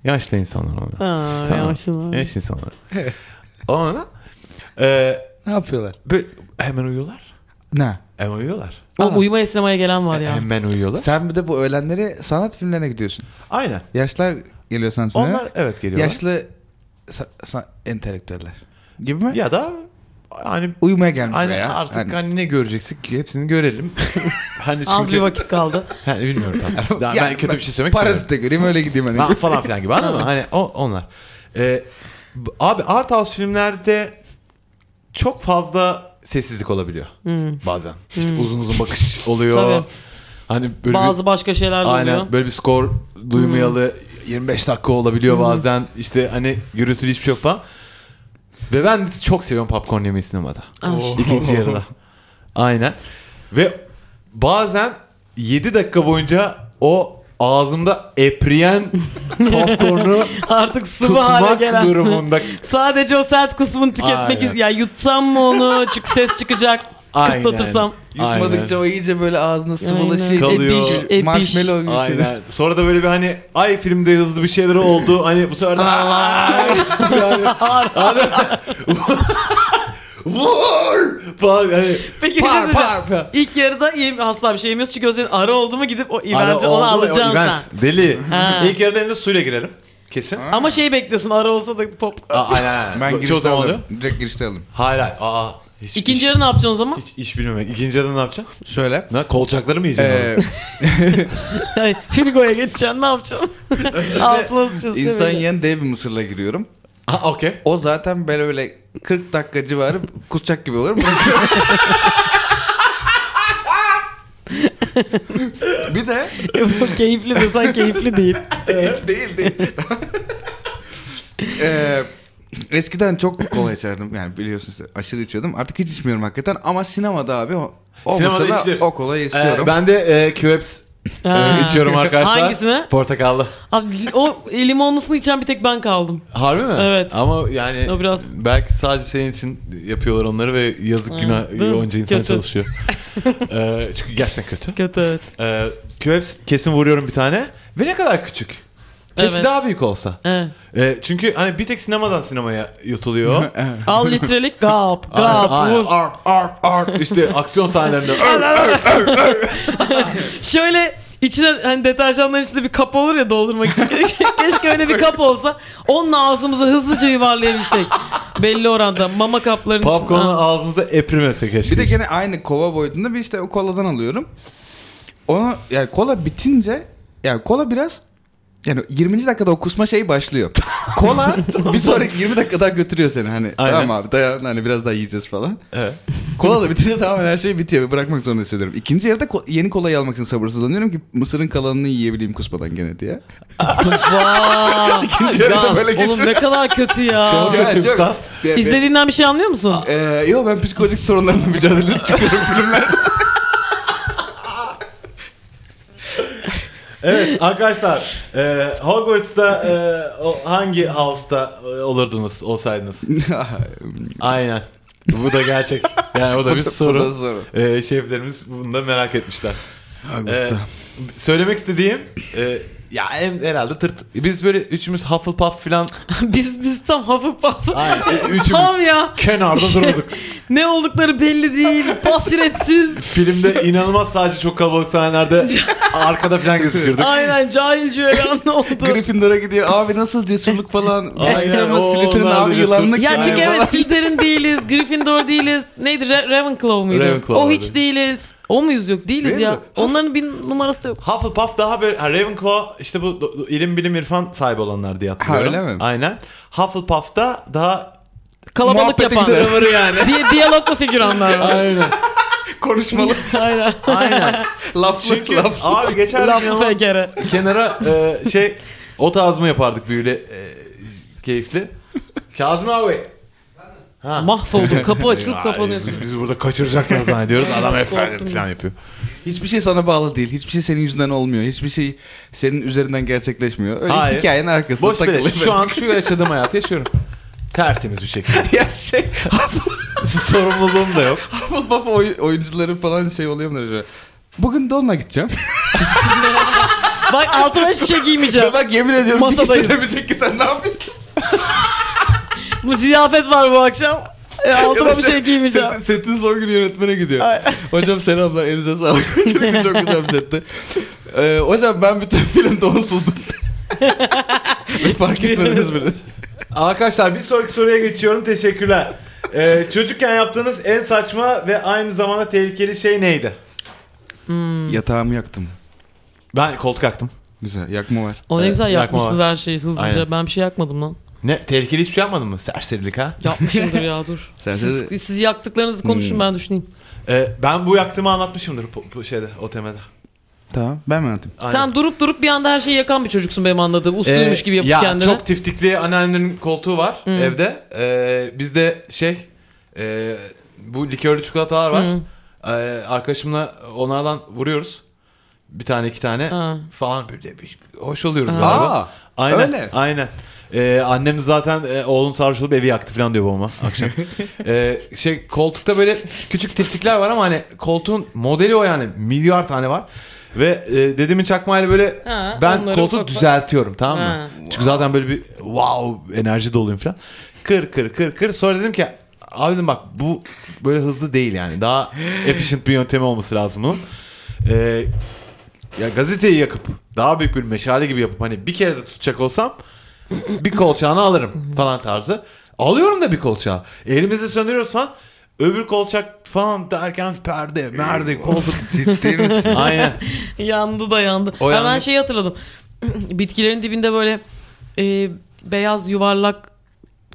[SPEAKER 2] yaşlı insanlar oluyor.
[SPEAKER 3] Ha,
[SPEAKER 2] Tamam.
[SPEAKER 3] yavaşın abi.
[SPEAKER 2] Yaşlı insanlar. Ona e,
[SPEAKER 4] Ne yapıyorlar?
[SPEAKER 2] böyle hemen uyuyorlar.
[SPEAKER 4] Ne?
[SPEAKER 2] Hemen uyuyorlar.
[SPEAKER 3] Oğlum uyumaya sinemaya gelen var ya.
[SPEAKER 2] Hemen uyuyorlar.
[SPEAKER 4] Sen bir de bu öğlenleri sanat filmlerine gidiyorsun.
[SPEAKER 2] Aynen.
[SPEAKER 4] Yaşlar geliyor sanat filmlerine.
[SPEAKER 2] Onlar evet geliyorlar.
[SPEAKER 4] Yaşlı sa- sa- entelektüeller. Gibi mi?
[SPEAKER 2] Ya da hani
[SPEAKER 4] Uyumaya gelmiş
[SPEAKER 2] hani
[SPEAKER 4] veya
[SPEAKER 2] artık
[SPEAKER 4] hani-
[SPEAKER 2] hani. ne göreceksin ki hepsini görelim. hani
[SPEAKER 3] Az
[SPEAKER 2] çünkü-
[SPEAKER 3] bir vakit kaldı.
[SPEAKER 2] Yani bilmiyorum tam. Daha
[SPEAKER 4] Yani
[SPEAKER 2] ben kötü bir şey söylemek istemiyorum.
[SPEAKER 4] Parazite göreyim öyle gideyim hani.
[SPEAKER 2] Ha, falan filan gibi anladın mı? Hani o, onlar. Ee, b- abi art house filmlerde çok fazla sessizlik olabiliyor bazen. İşte uzun uzun bakış oluyor.
[SPEAKER 3] Hmm. Tabii.
[SPEAKER 2] hani böyle
[SPEAKER 3] Bazı
[SPEAKER 2] bir,
[SPEAKER 3] başka şeyler de
[SPEAKER 2] aynen
[SPEAKER 3] oluyor. Hmm.
[SPEAKER 2] böyle bir skor duymayalı 25 dakika olabiliyor bazen. İşte hani gürültülü hiçbir şey yok falan. Ve ben çok seviyorum popcorn yemeyi sinemada.
[SPEAKER 3] Ah, işte.
[SPEAKER 2] İkinci yarıda. Aynen. Ve bazen 7 dakika boyunca o ağzımda epriyen popcornu
[SPEAKER 3] Artık sıvı hale
[SPEAKER 2] tutmak
[SPEAKER 3] gelen.
[SPEAKER 2] durumunda.
[SPEAKER 3] Sadece o sert kısmını tüketmek
[SPEAKER 2] Aynen.
[SPEAKER 3] is- ya yutsam mı onu çünkü ses çıkacak.
[SPEAKER 2] Aynen.
[SPEAKER 3] Kıtlatırsam.
[SPEAKER 4] Yutmadıkça
[SPEAKER 2] Aynen.
[SPEAKER 4] o iyice böyle ağzına sıvılaşıyor.
[SPEAKER 2] Kalıyor.
[SPEAKER 4] Epiş,
[SPEAKER 3] Epiş.
[SPEAKER 4] Marshmallow gibi şey. şeyler.
[SPEAKER 2] Aynen. Sonra da böyle bir hani ay filmde hızlı bir şeyler oldu. Hani bu sefer de yani, hani, vur falan hani
[SPEAKER 3] Peki şey
[SPEAKER 2] Par,
[SPEAKER 3] par,
[SPEAKER 2] par, par.
[SPEAKER 3] ilk yarıda yem- asla bir şey yemiyoruz çünkü o senin ara oldu mu gidip o
[SPEAKER 2] Ara
[SPEAKER 3] eventi
[SPEAKER 2] oldu
[SPEAKER 3] onu
[SPEAKER 2] ya, Hani o
[SPEAKER 3] alacaksın sen.
[SPEAKER 2] event. Deli.
[SPEAKER 3] Ha.
[SPEAKER 2] İlk yarıda hem de suyla girelim. Kesin.
[SPEAKER 4] Ha?
[SPEAKER 3] Ama şey bekliyorsun ara olsa da popcorn.
[SPEAKER 2] Aa, aynen, aynen.
[SPEAKER 4] Ben
[SPEAKER 2] Çoğu
[SPEAKER 4] girişte
[SPEAKER 2] zaman
[SPEAKER 4] alırım.
[SPEAKER 2] oluyor.
[SPEAKER 4] Direkt girişte alırım.
[SPEAKER 2] Hayır hayır. Aa, hiç,
[SPEAKER 3] İkinci
[SPEAKER 2] iş,
[SPEAKER 3] yarı ne yapacaksın o zaman?
[SPEAKER 2] hiç iş bilmemek. İkinci yarıda ne yapacaksın?
[SPEAKER 4] Şöyle.
[SPEAKER 2] Ne? Kolçakları mı yiyeceksin?
[SPEAKER 4] Ee,
[SPEAKER 3] Yani Frigoya geçeceksin ne yapacaksın? Altına sıçıyorsun.
[SPEAKER 4] insan yerine dev bir mısırla giriyorum.
[SPEAKER 2] orada? Ha, okey.
[SPEAKER 4] O zaten böyle böyle 40 dakika civarı kusacak gibi olurum. bir de
[SPEAKER 3] Bu keyifli desen keyifli değil.
[SPEAKER 4] değil değil. Ee, eskiden çok kola içerdim. Yani biliyorsunuz aşırı içiyordum. Artık hiç içmiyorum hakikaten. Ama sinemada abi o, o
[SPEAKER 2] Sinemada
[SPEAKER 4] masada
[SPEAKER 2] içilir.
[SPEAKER 4] o kolayı istiyorum.
[SPEAKER 2] Ee, ben de e, QEPS
[SPEAKER 3] Ha.
[SPEAKER 2] içiyorum arkadaşlar.
[SPEAKER 3] Hangisini?
[SPEAKER 2] Portakallı.
[SPEAKER 3] Abi, o limonlusunu içen bir tek ben kaldım.
[SPEAKER 2] Harbi mi?
[SPEAKER 3] Evet.
[SPEAKER 2] Ama yani
[SPEAKER 3] O biraz-
[SPEAKER 2] belki sadece senin için yapıyorlar onları ve yazık
[SPEAKER 3] Ha,
[SPEAKER 2] günah
[SPEAKER 3] değil mi?
[SPEAKER 2] onca insan
[SPEAKER 3] Kötü.
[SPEAKER 2] çalışıyor. Ee, çünkü gerçekten kötü.
[SPEAKER 3] Kötü evet.
[SPEAKER 2] Ee, QEPS kesin vuruyorum bir tane. Ve ne kadar küçük. Keşke
[SPEAKER 3] Evet.
[SPEAKER 2] daha büyük olsa.
[SPEAKER 3] evet.
[SPEAKER 2] Ee, çünkü hani bir tek sinemadan sinemaya yutuluyor.
[SPEAKER 3] Al litrelik gap gap
[SPEAKER 2] Aynen,
[SPEAKER 3] vur.
[SPEAKER 2] Ar, ar, ar. İşte aksiyon sahnelerinde. ar, ar.
[SPEAKER 3] Şöyle içine hani deterjanların içinde bir kap olur ya doldurmak için. Keşke, keşke öyle bir kap olsa. Onunla ağzımızı hızlıca yuvarlayabilsek. Belli oranda mama kaplarının
[SPEAKER 2] Popcorn'u
[SPEAKER 3] içinde.
[SPEAKER 2] ağzımızda eprimesek keşke.
[SPEAKER 4] Bir de gene aynı kova boyutunda bir işte o koladan alıyorum. Onu yani kola bitince yani kola biraz yani 20. dakikada o kusma şeyi başlıyor. Kola bir sonraki 20 dakika daha götürüyor seni hani.
[SPEAKER 2] Aynen.
[SPEAKER 4] Tamam abi dayan hani biraz daha yiyeceğiz falan.
[SPEAKER 2] Evet.
[SPEAKER 4] Kola da bitince tamamen her şey bitiyor ve bırakmak zorunda hissediyorum. İkinci yarıda ko- yeni kolayı almak için sabırsızlanıyorum ki mısırın kalanını yiyebileyim kusmadan gene diye.
[SPEAKER 3] Vaa.
[SPEAKER 4] İkinci yarıda
[SPEAKER 3] Gaz.
[SPEAKER 4] böyle
[SPEAKER 3] Oğlum ne
[SPEAKER 4] geçiyor.
[SPEAKER 3] kadar kötü ya.
[SPEAKER 2] Çok- kötü usta.
[SPEAKER 4] Be- be-
[SPEAKER 3] İzlediğinden bir şey anlıyor musun?
[SPEAKER 4] Ee, yo ben psikolojik sorunlarımla mücadele çıkıyorum filmler.
[SPEAKER 2] Evet arkadaşlar e, Hogwarts'ta e, o, hangi house'ta e, olurdunuz olsaydınız? Aynen. Bu da gerçek. Yani bu da bir
[SPEAKER 4] Bu da
[SPEAKER 2] soru.
[SPEAKER 4] soru.
[SPEAKER 2] E, şeflerimiz bunu da merak etmişler. E,
[SPEAKER 4] Ağustos'ta.
[SPEAKER 2] söylemek istediğim e, ya hem herhalde tırt. Biz böyle üçümüz Hufflepuff filan
[SPEAKER 3] biz biz tam hafif hafif.
[SPEAKER 2] Aynen, e, üçümüz
[SPEAKER 3] Tam ya.
[SPEAKER 2] kenarda dururduk.
[SPEAKER 3] Ne oldukları belli değil. Basiretsiz.
[SPEAKER 2] Filmde inanılmaz sadece çok kalabalık sahnelerde arkada filan gözükürdük.
[SPEAKER 3] Aynen cahil cüeyan ne oldu?
[SPEAKER 4] Gryffindor'a gidiyor. Abi nasıl cesurluk falan.
[SPEAKER 2] Aynen,
[SPEAKER 4] Ama
[SPEAKER 2] o
[SPEAKER 4] Slytherin
[SPEAKER 2] onlar da
[SPEAKER 4] abi
[SPEAKER 2] cesur.
[SPEAKER 4] yılanlık.
[SPEAKER 3] Ya
[SPEAKER 2] Yani
[SPEAKER 3] çünkü
[SPEAKER 2] bana-
[SPEAKER 3] evet Slytherin değiliz, Gryffindor değiliz. Neydi? Ra- Ravenclaw muydu?
[SPEAKER 2] Ravenclaw
[SPEAKER 3] o
[SPEAKER 2] abi.
[SPEAKER 3] hiç değiliz. O muyuz yok? Değiliz
[SPEAKER 4] Değil
[SPEAKER 3] ya.
[SPEAKER 4] mi?
[SPEAKER 3] Onların bir numarası da yok.
[SPEAKER 2] Hufflepuff daha böyle ha, Ravenclaw işte bu do- do- ilim bilim irfan sahibi olanlar diye hatırlıyorum.
[SPEAKER 4] Ha, öyle mi?
[SPEAKER 2] Aynen. Hufflepuff da daha
[SPEAKER 3] Kalabalık
[SPEAKER 4] Muhabbeti
[SPEAKER 3] yapan.
[SPEAKER 4] güzel.
[SPEAKER 2] tavırı yani.
[SPEAKER 3] Diye diyaloglu figüranlar var.
[SPEAKER 2] Aynen.
[SPEAKER 4] Konuşmalı.
[SPEAKER 3] Aynen.
[SPEAKER 2] Aynen.
[SPEAKER 4] laflı
[SPEAKER 2] Çünkü
[SPEAKER 4] laflı.
[SPEAKER 2] abi geçen gün
[SPEAKER 3] Laflı
[SPEAKER 2] inanılmaz
[SPEAKER 3] fekere.
[SPEAKER 2] kenara e, şey o tazımı yapardık böyle e, keyifli. Kazım abi. Ha.
[SPEAKER 3] Mahvoldum. Kapı açılıp
[SPEAKER 2] Ay,
[SPEAKER 3] kapanıyorsun.
[SPEAKER 2] biz, biz burada kaçıracaklar zannediyoruz. Adam efendim falan yapıyor.
[SPEAKER 4] Hiçbir şey sana bağlı değil. Hiçbir şey senin yüzünden olmuyor. Hiçbir şey senin üzerinden gerçekleşmiyor. Öyle
[SPEAKER 2] Hayır.
[SPEAKER 4] hikayenin arkasında
[SPEAKER 2] Boş beleş.
[SPEAKER 4] takılıyor.
[SPEAKER 2] Şu an şu yaşadığım hayatı yaşıyorum. Tertemiz bir şekilde.
[SPEAKER 4] ya şey
[SPEAKER 2] Sorumluluğum da yok.
[SPEAKER 4] Hufflepuff oy- oyuncuları falan şey oluyor mu acaba? Bugün Don'la gideceğim.
[SPEAKER 3] Bak altıma hiçbir şey giymeyeceğim.
[SPEAKER 4] Ve bak yemin ediyorum
[SPEAKER 3] Masadayız.
[SPEAKER 4] bir kişi demeyecek ki sen ne yapıyorsun?
[SPEAKER 3] Bu ziyafet var bu akşam. E, altıma
[SPEAKER 4] Ya da
[SPEAKER 3] bir şey giymeyeceğim.
[SPEAKER 4] Setin, setin son günü yönetmene gidiyor.
[SPEAKER 3] Ay.
[SPEAKER 4] Hocam selamlar elinize sağlık. Çünkü çok güzel bir setti. Ee, hocam ben bütün film donsuzdum. Ve fark etmediniz bile.
[SPEAKER 2] Arkadaşlar bir sonraki soruya geçiyorum. Teşekkürler. Ee, çocukken yaptığınız en saçma ve aynı zamanda tehlikeli şey neydi?
[SPEAKER 4] Yatağımı yaktım.
[SPEAKER 2] Ben koltuk yaktım.
[SPEAKER 4] Güzel yakma var.
[SPEAKER 3] O ne
[SPEAKER 2] Ee,
[SPEAKER 3] güzel
[SPEAKER 2] yakma
[SPEAKER 3] yakmışsınız her şeyi hızlıca.
[SPEAKER 2] Aynen.
[SPEAKER 3] Ben bir şey yakmadım lan.
[SPEAKER 2] Ne? Tehlikeli hiçbir şey yapmadın mı? Serserilik ha?
[SPEAKER 3] Yapmışımdır ya dur.
[SPEAKER 4] Sen-
[SPEAKER 3] siz, siz yaktıklarınızı konuşun
[SPEAKER 2] Hmm.
[SPEAKER 3] ben düşüneyim.
[SPEAKER 2] Ee, ben bu yaktığımı anlatmışımdır bu, bu şeyde, o temede.
[SPEAKER 4] Tamam ben mi anlatayım?
[SPEAKER 2] Aynen.
[SPEAKER 3] Sen durup durup bir anda her şeyi yakan bir çocuksun benim anladığım. Usluymuş
[SPEAKER 2] Ee,
[SPEAKER 3] gibi yapıp
[SPEAKER 2] ya,
[SPEAKER 3] kendine.
[SPEAKER 2] Çok tiftikli anneannemin koltuğu var evde. Ee, bizde şey e, bu likörlü çikolatalar var. Ee, arkadaşımla onlardan vuruyoruz. Bir tane iki tane
[SPEAKER 3] Ha.
[SPEAKER 2] falan böyle bir- hoş oluyoruz
[SPEAKER 3] Ha.
[SPEAKER 2] galiba.
[SPEAKER 4] Aa,
[SPEAKER 2] Aynen.
[SPEAKER 4] öyle.
[SPEAKER 2] Aynen. Ee, annem zaten e, oğlum sarhoş olup evi yaktı falan diyor babama akşam. Ee, şey koltukta böyle küçük tiftikler var ama hani koltuğun modeli o yani milyar tane var. Ve e, dedemin çakmayla böyle
[SPEAKER 3] Ha,
[SPEAKER 2] ben
[SPEAKER 3] onları
[SPEAKER 2] koltuğu
[SPEAKER 3] ufak ufak-
[SPEAKER 2] düzeltiyorum tamam mı?
[SPEAKER 3] Ha.
[SPEAKER 2] Çünkü zaten böyle bir wow enerji doluyum falan. Kır kır kır kır. Sonra dedim ki abi dedim bak bu böyle hızlı değil yani. Daha efficient bir yöntemi olması lazım bunun. Ee, ya gazeteyi yakıp daha büyük bir meşale gibi yapıp hani bir kere de tutacak olsam bir kolçağını alırım falan tarzı. Alıyorum da bir kolçağı. Elimizi söndürüyoruz falan. Öbür kolçak falan derken perde, merde, koltuk.
[SPEAKER 4] Ciddi misin?
[SPEAKER 2] Aynen.
[SPEAKER 3] yandı da yandı.
[SPEAKER 2] O
[SPEAKER 3] Hemen
[SPEAKER 2] yandı.
[SPEAKER 3] şey hatırladım. Bitkilerin dibinde böyle e, beyaz yuvarlak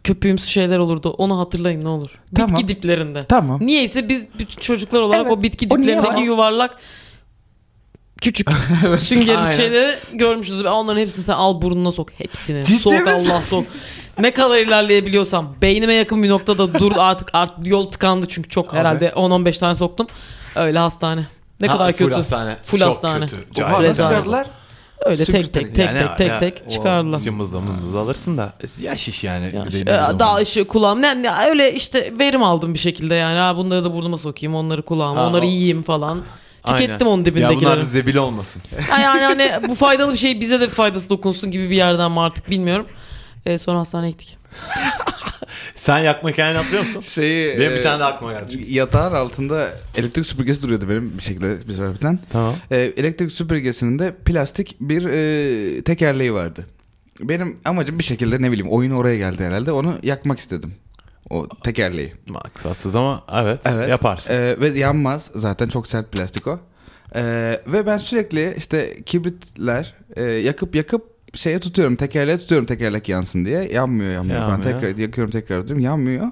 [SPEAKER 3] köpüğümsü şeyler olurdu. Onu hatırlayın ne olur.
[SPEAKER 4] Tamam.
[SPEAKER 3] Bitki diplerinde.
[SPEAKER 4] Tamam.
[SPEAKER 3] Niyeyse biz bütün çocuklar olarak
[SPEAKER 4] Evet,
[SPEAKER 3] o bitki
[SPEAKER 4] o niye
[SPEAKER 3] diplerindeki
[SPEAKER 4] var?
[SPEAKER 3] yuvarlak küçük süngerimsi
[SPEAKER 2] Aynen.
[SPEAKER 3] şeyleri görmüşüz. Ben Onların hepsini sen al burnuna sok. Hepsini.
[SPEAKER 4] Ciddi
[SPEAKER 3] sok
[SPEAKER 4] misin?
[SPEAKER 3] Allah sok. Ne kadar ilerleyebiliyorsam. Beynime yakın bir noktada dur artık art, yol tıkandı çünkü çok herhalde 10-15 tane soktum. Öyle hastane. Ne
[SPEAKER 2] Ha,
[SPEAKER 3] kadar
[SPEAKER 2] full
[SPEAKER 3] kötü.
[SPEAKER 2] hastane.
[SPEAKER 3] Full
[SPEAKER 2] Çok
[SPEAKER 3] hastane.
[SPEAKER 2] kötü.
[SPEAKER 4] Oha,
[SPEAKER 2] Cahil
[SPEAKER 4] nasıl
[SPEAKER 2] adam.
[SPEAKER 4] verdiler?
[SPEAKER 3] Öyle tek
[SPEAKER 4] Sümürterek
[SPEAKER 3] tek tek
[SPEAKER 1] Yani
[SPEAKER 3] tek tek
[SPEAKER 1] ya,
[SPEAKER 3] tek
[SPEAKER 1] o
[SPEAKER 3] çıkardılar.
[SPEAKER 1] Cımbızla mımbızla alırsın da ya şiş yani.
[SPEAKER 3] Yani
[SPEAKER 1] bir
[SPEAKER 3] şey,
[SPEAKER 1] de
[SPEAKER 3] e,
[SPEAKER 1] zaman.
[SPEAKER 3] daha işi kulağım ne, ne- öyle işte verim aldım bir şekilde yani ha bunları da burnuma sokayım onları kulağıma
[SPEAKER 2] Ha,
[SPEAKER 3] onları
[SPEAKER 2] o-
[SPEAKER 3] yiyeyim falan
[SPEAKER 2] Aynen.
[SPEAKER 3] tükettim onun
[SPEAKER 2] Ya bunlar
[SPEAKER 3] dibindekileri
[SPEAKER 2] da zebil olmasın.
[SPEAKER 3] Ha, yani hani bu faydalı bir şey bize de bir faydası dokunsun gibi bir yerden mi artık bilmiyorum E, sonra hastaneye gittik
[SPEAKER 1] Sen yakma hikayeni hatırlıyor musun?
[SPEAKER 4] Şeyi,
[SPEAKER 1] Benim bir
[SPEAKER 4] e,
[SPEAKER 1] tane de aklıma geldi. çünkü.
[SPEAKER 4] Yatağın altında elektrik süpürgesi duruyordu benim bir şekilde bir sebepten.
[SPEAKER 1] Tamam.
[SPEAKER 4] E, elektrik süpürgesinin de plastik bir e, tekerleği vardı. Benim amacım bir şekilde ne bileyim oyun oraya geldi herhalde onu yakmak istedim. O tekerleği.
[SPEAKER 1] Maksatsız ama evet,
[SPEAKER 4] Evet.
[SPEAKER 1] yaparsın.
[SPEAKER 4] Ee, ve yanmaz. Zaten çok sert plastik o. Ee, ve ben sürekli işte kibritler e, yakıp yakıp şeye tutuyorum tekerleğe tutuyorum tekerlek yansın diye yanmıyor yanmıyor falan
[SPEAKER 1] Yanmıyor.
[SPEAKER 4] tekrar yakıyorum tekrar tutuyorum yanmıyor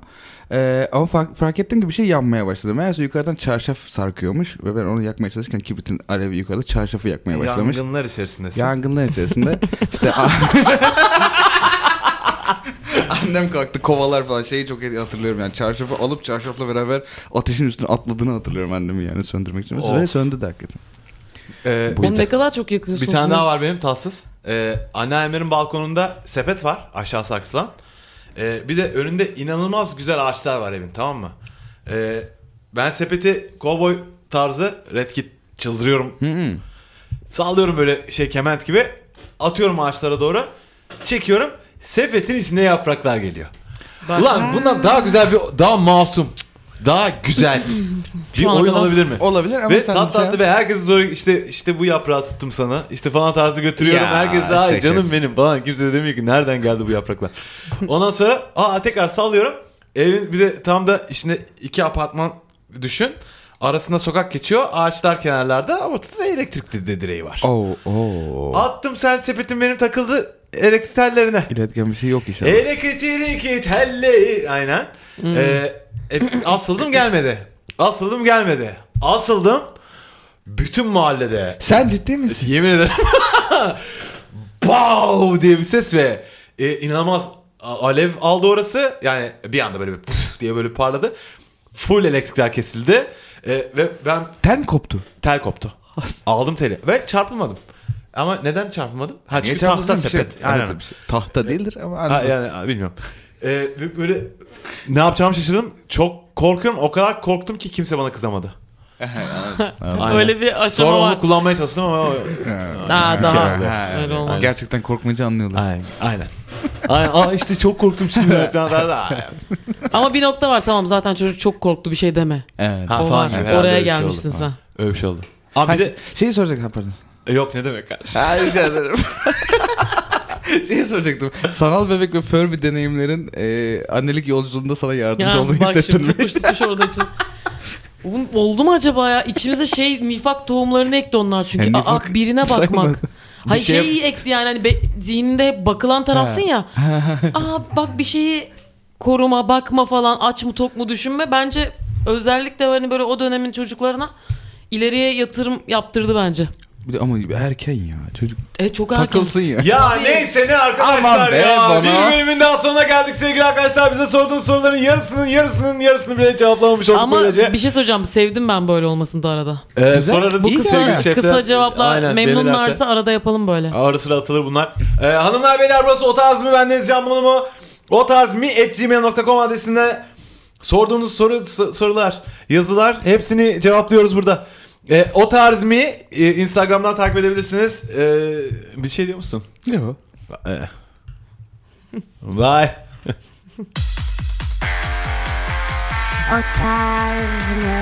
[SPEAKER 4] Ee, ama fark, fark ettim ki bir şey yanmaya başladı meğerse yukarıdan çarşaf sarkıyormuş ve ben onu yakmaya çalışırken kibritin alevi yukarıda çarşafı yakmaya başlamış
[SPEAKER 1] Yangınlar içerisindesin.
[SPEAKER 4] yangınlar içerisinde işte annem kalktı kovalar falan şeyi çok iyi hatırlıyorum yani çarşafı alıp çarşafla beraber ateşin üstüne atladığını hatırlıyorum annemin yani söndürmek için
[SPEAKER 2] Of.
[SPEAKER 4] ve söndü de hakikaten.
[SPEAKER 2] Ee,
[SPEAKER 3] onu ne kadar çok yakıyorsun
[SPEAKER 2] Bir tane daha var benim tatsız. Ee, anneannemlerin balkonunda sepet var aşağı saksılan. Ee, bir de önünde inanılmaz güzel ağaçlar var evin tamam mı? Ee, ben sepeti cowboy tarzı red kit çıldırıyorum. Sallıyorum böyle şey kement gibi. Atıyorum ağaçlara doğru. Çekiyorum. Sepetin içinde yapraklar geliyor.
[SPEAKER 3] Bak,
[SPEAKER 2] Ulan bundan daha güzel bir daha masum. Daha güzel bir
[SPEAKER 3] Şu ana
[SPEAKER 2] oyun
[SPEAKER 3] kadar-
[SPEAKER 2] olabilir mi?
[SPEAKER 4] Olabilir ama
[SPEAKER 2] Ve
[SPEAKER 4] sen
[SPEAKER 2] tat
[SPEAKER 4] şey-
[SPEAKER 2] tatlı ve herkesi zor işte işte bu yaprağı tuttum sana. işte falan tarzı götürüyorum.
[SPEAKER 4] Ya,
[SPEAKER 2] Herkes de "Ay
[SPEAKER 4] şeker.
[SPEAKER 2] canım benim falan. Kimse de demiyor ki nereden geldi bu yapraklar. Ondan sonra aa tekrar sallıyorum. Evin bir de tam da işte iki apartman düşün. Arasında sokak geçiyor. Ağaçlar kenarlarda. Ortada da elektrikli de direği var.
[SPEAKER 4] Oo, oo.
[SPEAKER 2] Attım sen sepetin benim takıldı elektrik tellerine.
[SPEAKER 4] İletken bir şey yok inşallah.
[SPEAKER 2] E- Elektrikli telleri. Aynen.
[SPEAKER 4] Hmm.
[SPEAKER 2] Ee, e, asıldım gelmedi. Asıldım gelmedi. Asıldım. Bütün mahallede
[SPEAKER 4] sen ciddi misin?
[SPEAKER 2] Yemin ederim. Bow diye bir ses ve e, inanılmaz a- alev aldı orası. Yani bir anda böyle bir puf diye böyle parladı. Full elektrikler kesildi. E, ve ben
[SPEAKER 4] Ten koptu.
[SPEAKER 2] tel koptu. Aldım teli ve çarpılmadım. Ama neden çarpılmadım? Ha çünkü
[SPEAKER 4] Geçen
[SPEAKER 2] tahta
[SPEAKER 4] hafta bir şey-
[SPEAKER 2] sepet.
[SPEAKER 4] Evet,
[SPEAKER 2] Aynen.
[SPEAKER 4] bir şey. Tahta değildir ama
[SPEAKER 2] Ha,
[SPEAKER 4] anladım.
[SPEAKER 2] yani ha, bilmiyorum. E, ve böyle ne yapacağımı şaşırdım. Çok korkuyorum. O kadar korktum ki kimse bana kızamadı. Aynen.
[SPEAKER 3] öyle bir aşama
[SPEAKER 2] Sonra
[SPEAKER 3] var
[SPEAKER 2] onu kullanmaya çalıştım ama
[SPEAKER 3] Ha,
[SPEAKER 2] Hani
[SPEAKER 4] Bir
[SPEAKER 3] daha.
[SPEAKER 4] kere.
[SPEAKER 3] Ha, öyle olmaz.
[SPEAKER 4] Gerçekten korkmayınca anlıyorlar.
[SPEAKER 2] Aynen. Aynen. Aynen. Aa işte çok korktum şimdi. Falan, daha da.
[SPEAKER 3] ama bir nokta var tamam zaten çocuk çok korktu bir şey deme
[SPEAKER 4] Evet.
[SPEAKER 2] Ha,
[SPEAKER 3] o
[SPEAKER 2] falan gibi.
[SPEAKER 3] var
[SPEAKER 2] Herhalde öyle
[SPEAKER 3] oraya
[SPEAKER 2] bir şey
[SPEAKER 3] gelmişsin
[SPEAKER 2] oldu.
[SPEAKER 3] sen
[SPEAKER 2] Öyle bir şey oldu. Abi
[SPEAKER 4] Ha,
[SPEAKER 2] bir de
[SPEAKER 4] şeyi soracaktım pardon.
[SPEAKER 2] E, yok ne demek kardeşim.
[SPEAKER 4] Ha, rica ederim. Şeyi Şey soracaktım. Sanal bebek ve Furby deneyimlerin e, annelik yolculuğunda sana yardımcı
[SPEAKER 3] Ya
[SPEAKER 4] olduğunu
[SPEAKER 3] bak
[SPEAKER 4] hissettin
[SPEAKER 3] şimdi
[SPEAKER 4] mi?
[SPEAKER 3] tutmuş tutmuş orada için. Oğlum oldu mu acaba ya? İçimize şey nifak tohumlarını ekti onlar çünkü.
[SPEAKER 4] Ya nifak
[SPEAKER 3] Aa, birine
[SPEAKER 4] sayma.
[SPEAKER 3] bakmak. Hayır
[SPEAKER 4] şey-
[SPEAKER 3] şeyi ekti yani hani be- zihninde hep bakılan tarafsın ya. Aa bak bir şeyi koruma, bakma falan aç mı tok mu düşünme. Bence özellikle hani böyle o dönemin çocuklarına ileriye yatırım yaptırdı bence.
[SPEAKER 4] Bir de ama erken ya çocuk
[SPEAKER 3] E çok erken.
[SPEAKER 4] takılsın ya.
[SPEAKER 2] Ya neyse ne arkadaşlar
[SPEAKER 4] Aman be
[SPEAKER 2] ya.
[SPEAKER 4] bana.
[SPEAKER 2] Bir bölümün daha sonuna geldik sevgili arkadaşlar. Bize sorduğunuz soruların yarısının yarısının yarısını bile cevaplamamış olduk
[SPEAKER 3] Ama
[SPEAKER 2] böylece.
[SPEAKER 3] bir şey söyleyeceğim. Sevdim ben böyle olmasını da arada.
[SPEAKER 2] Ee, sorarız
[SPEAKER 3] Bu
[SPEAKER 2] sevgili
[SPEAKER 3] kısa,
[SPEAKER 2] şefler.
[SPEAKER 3] kısa cevaplar
[SPEAKER 2] Aynen, belirlerse.
[SPEAKER 3] memnunlarsa arada yapalım böyle.
[SPEAKER 2] Ara sıra atılır bunlar. Ee, hanımlar beyler burası o tarz mı? Ben Deniz Can Bono mu? O tarz mi? At gmail.com adresinde sorduğunuz soru, s- sorular, yazılar hepsini cevaplıyoruz burada. Ee, o tarz mi? Ee, Instagram'dan takip edebilirsiniz. Ee, bir şey diyor musun?
[SPEAKER 4] Yok.
[SPEAKER 2] Ee. Vay.
[SPEAKER 6] O tarz mı?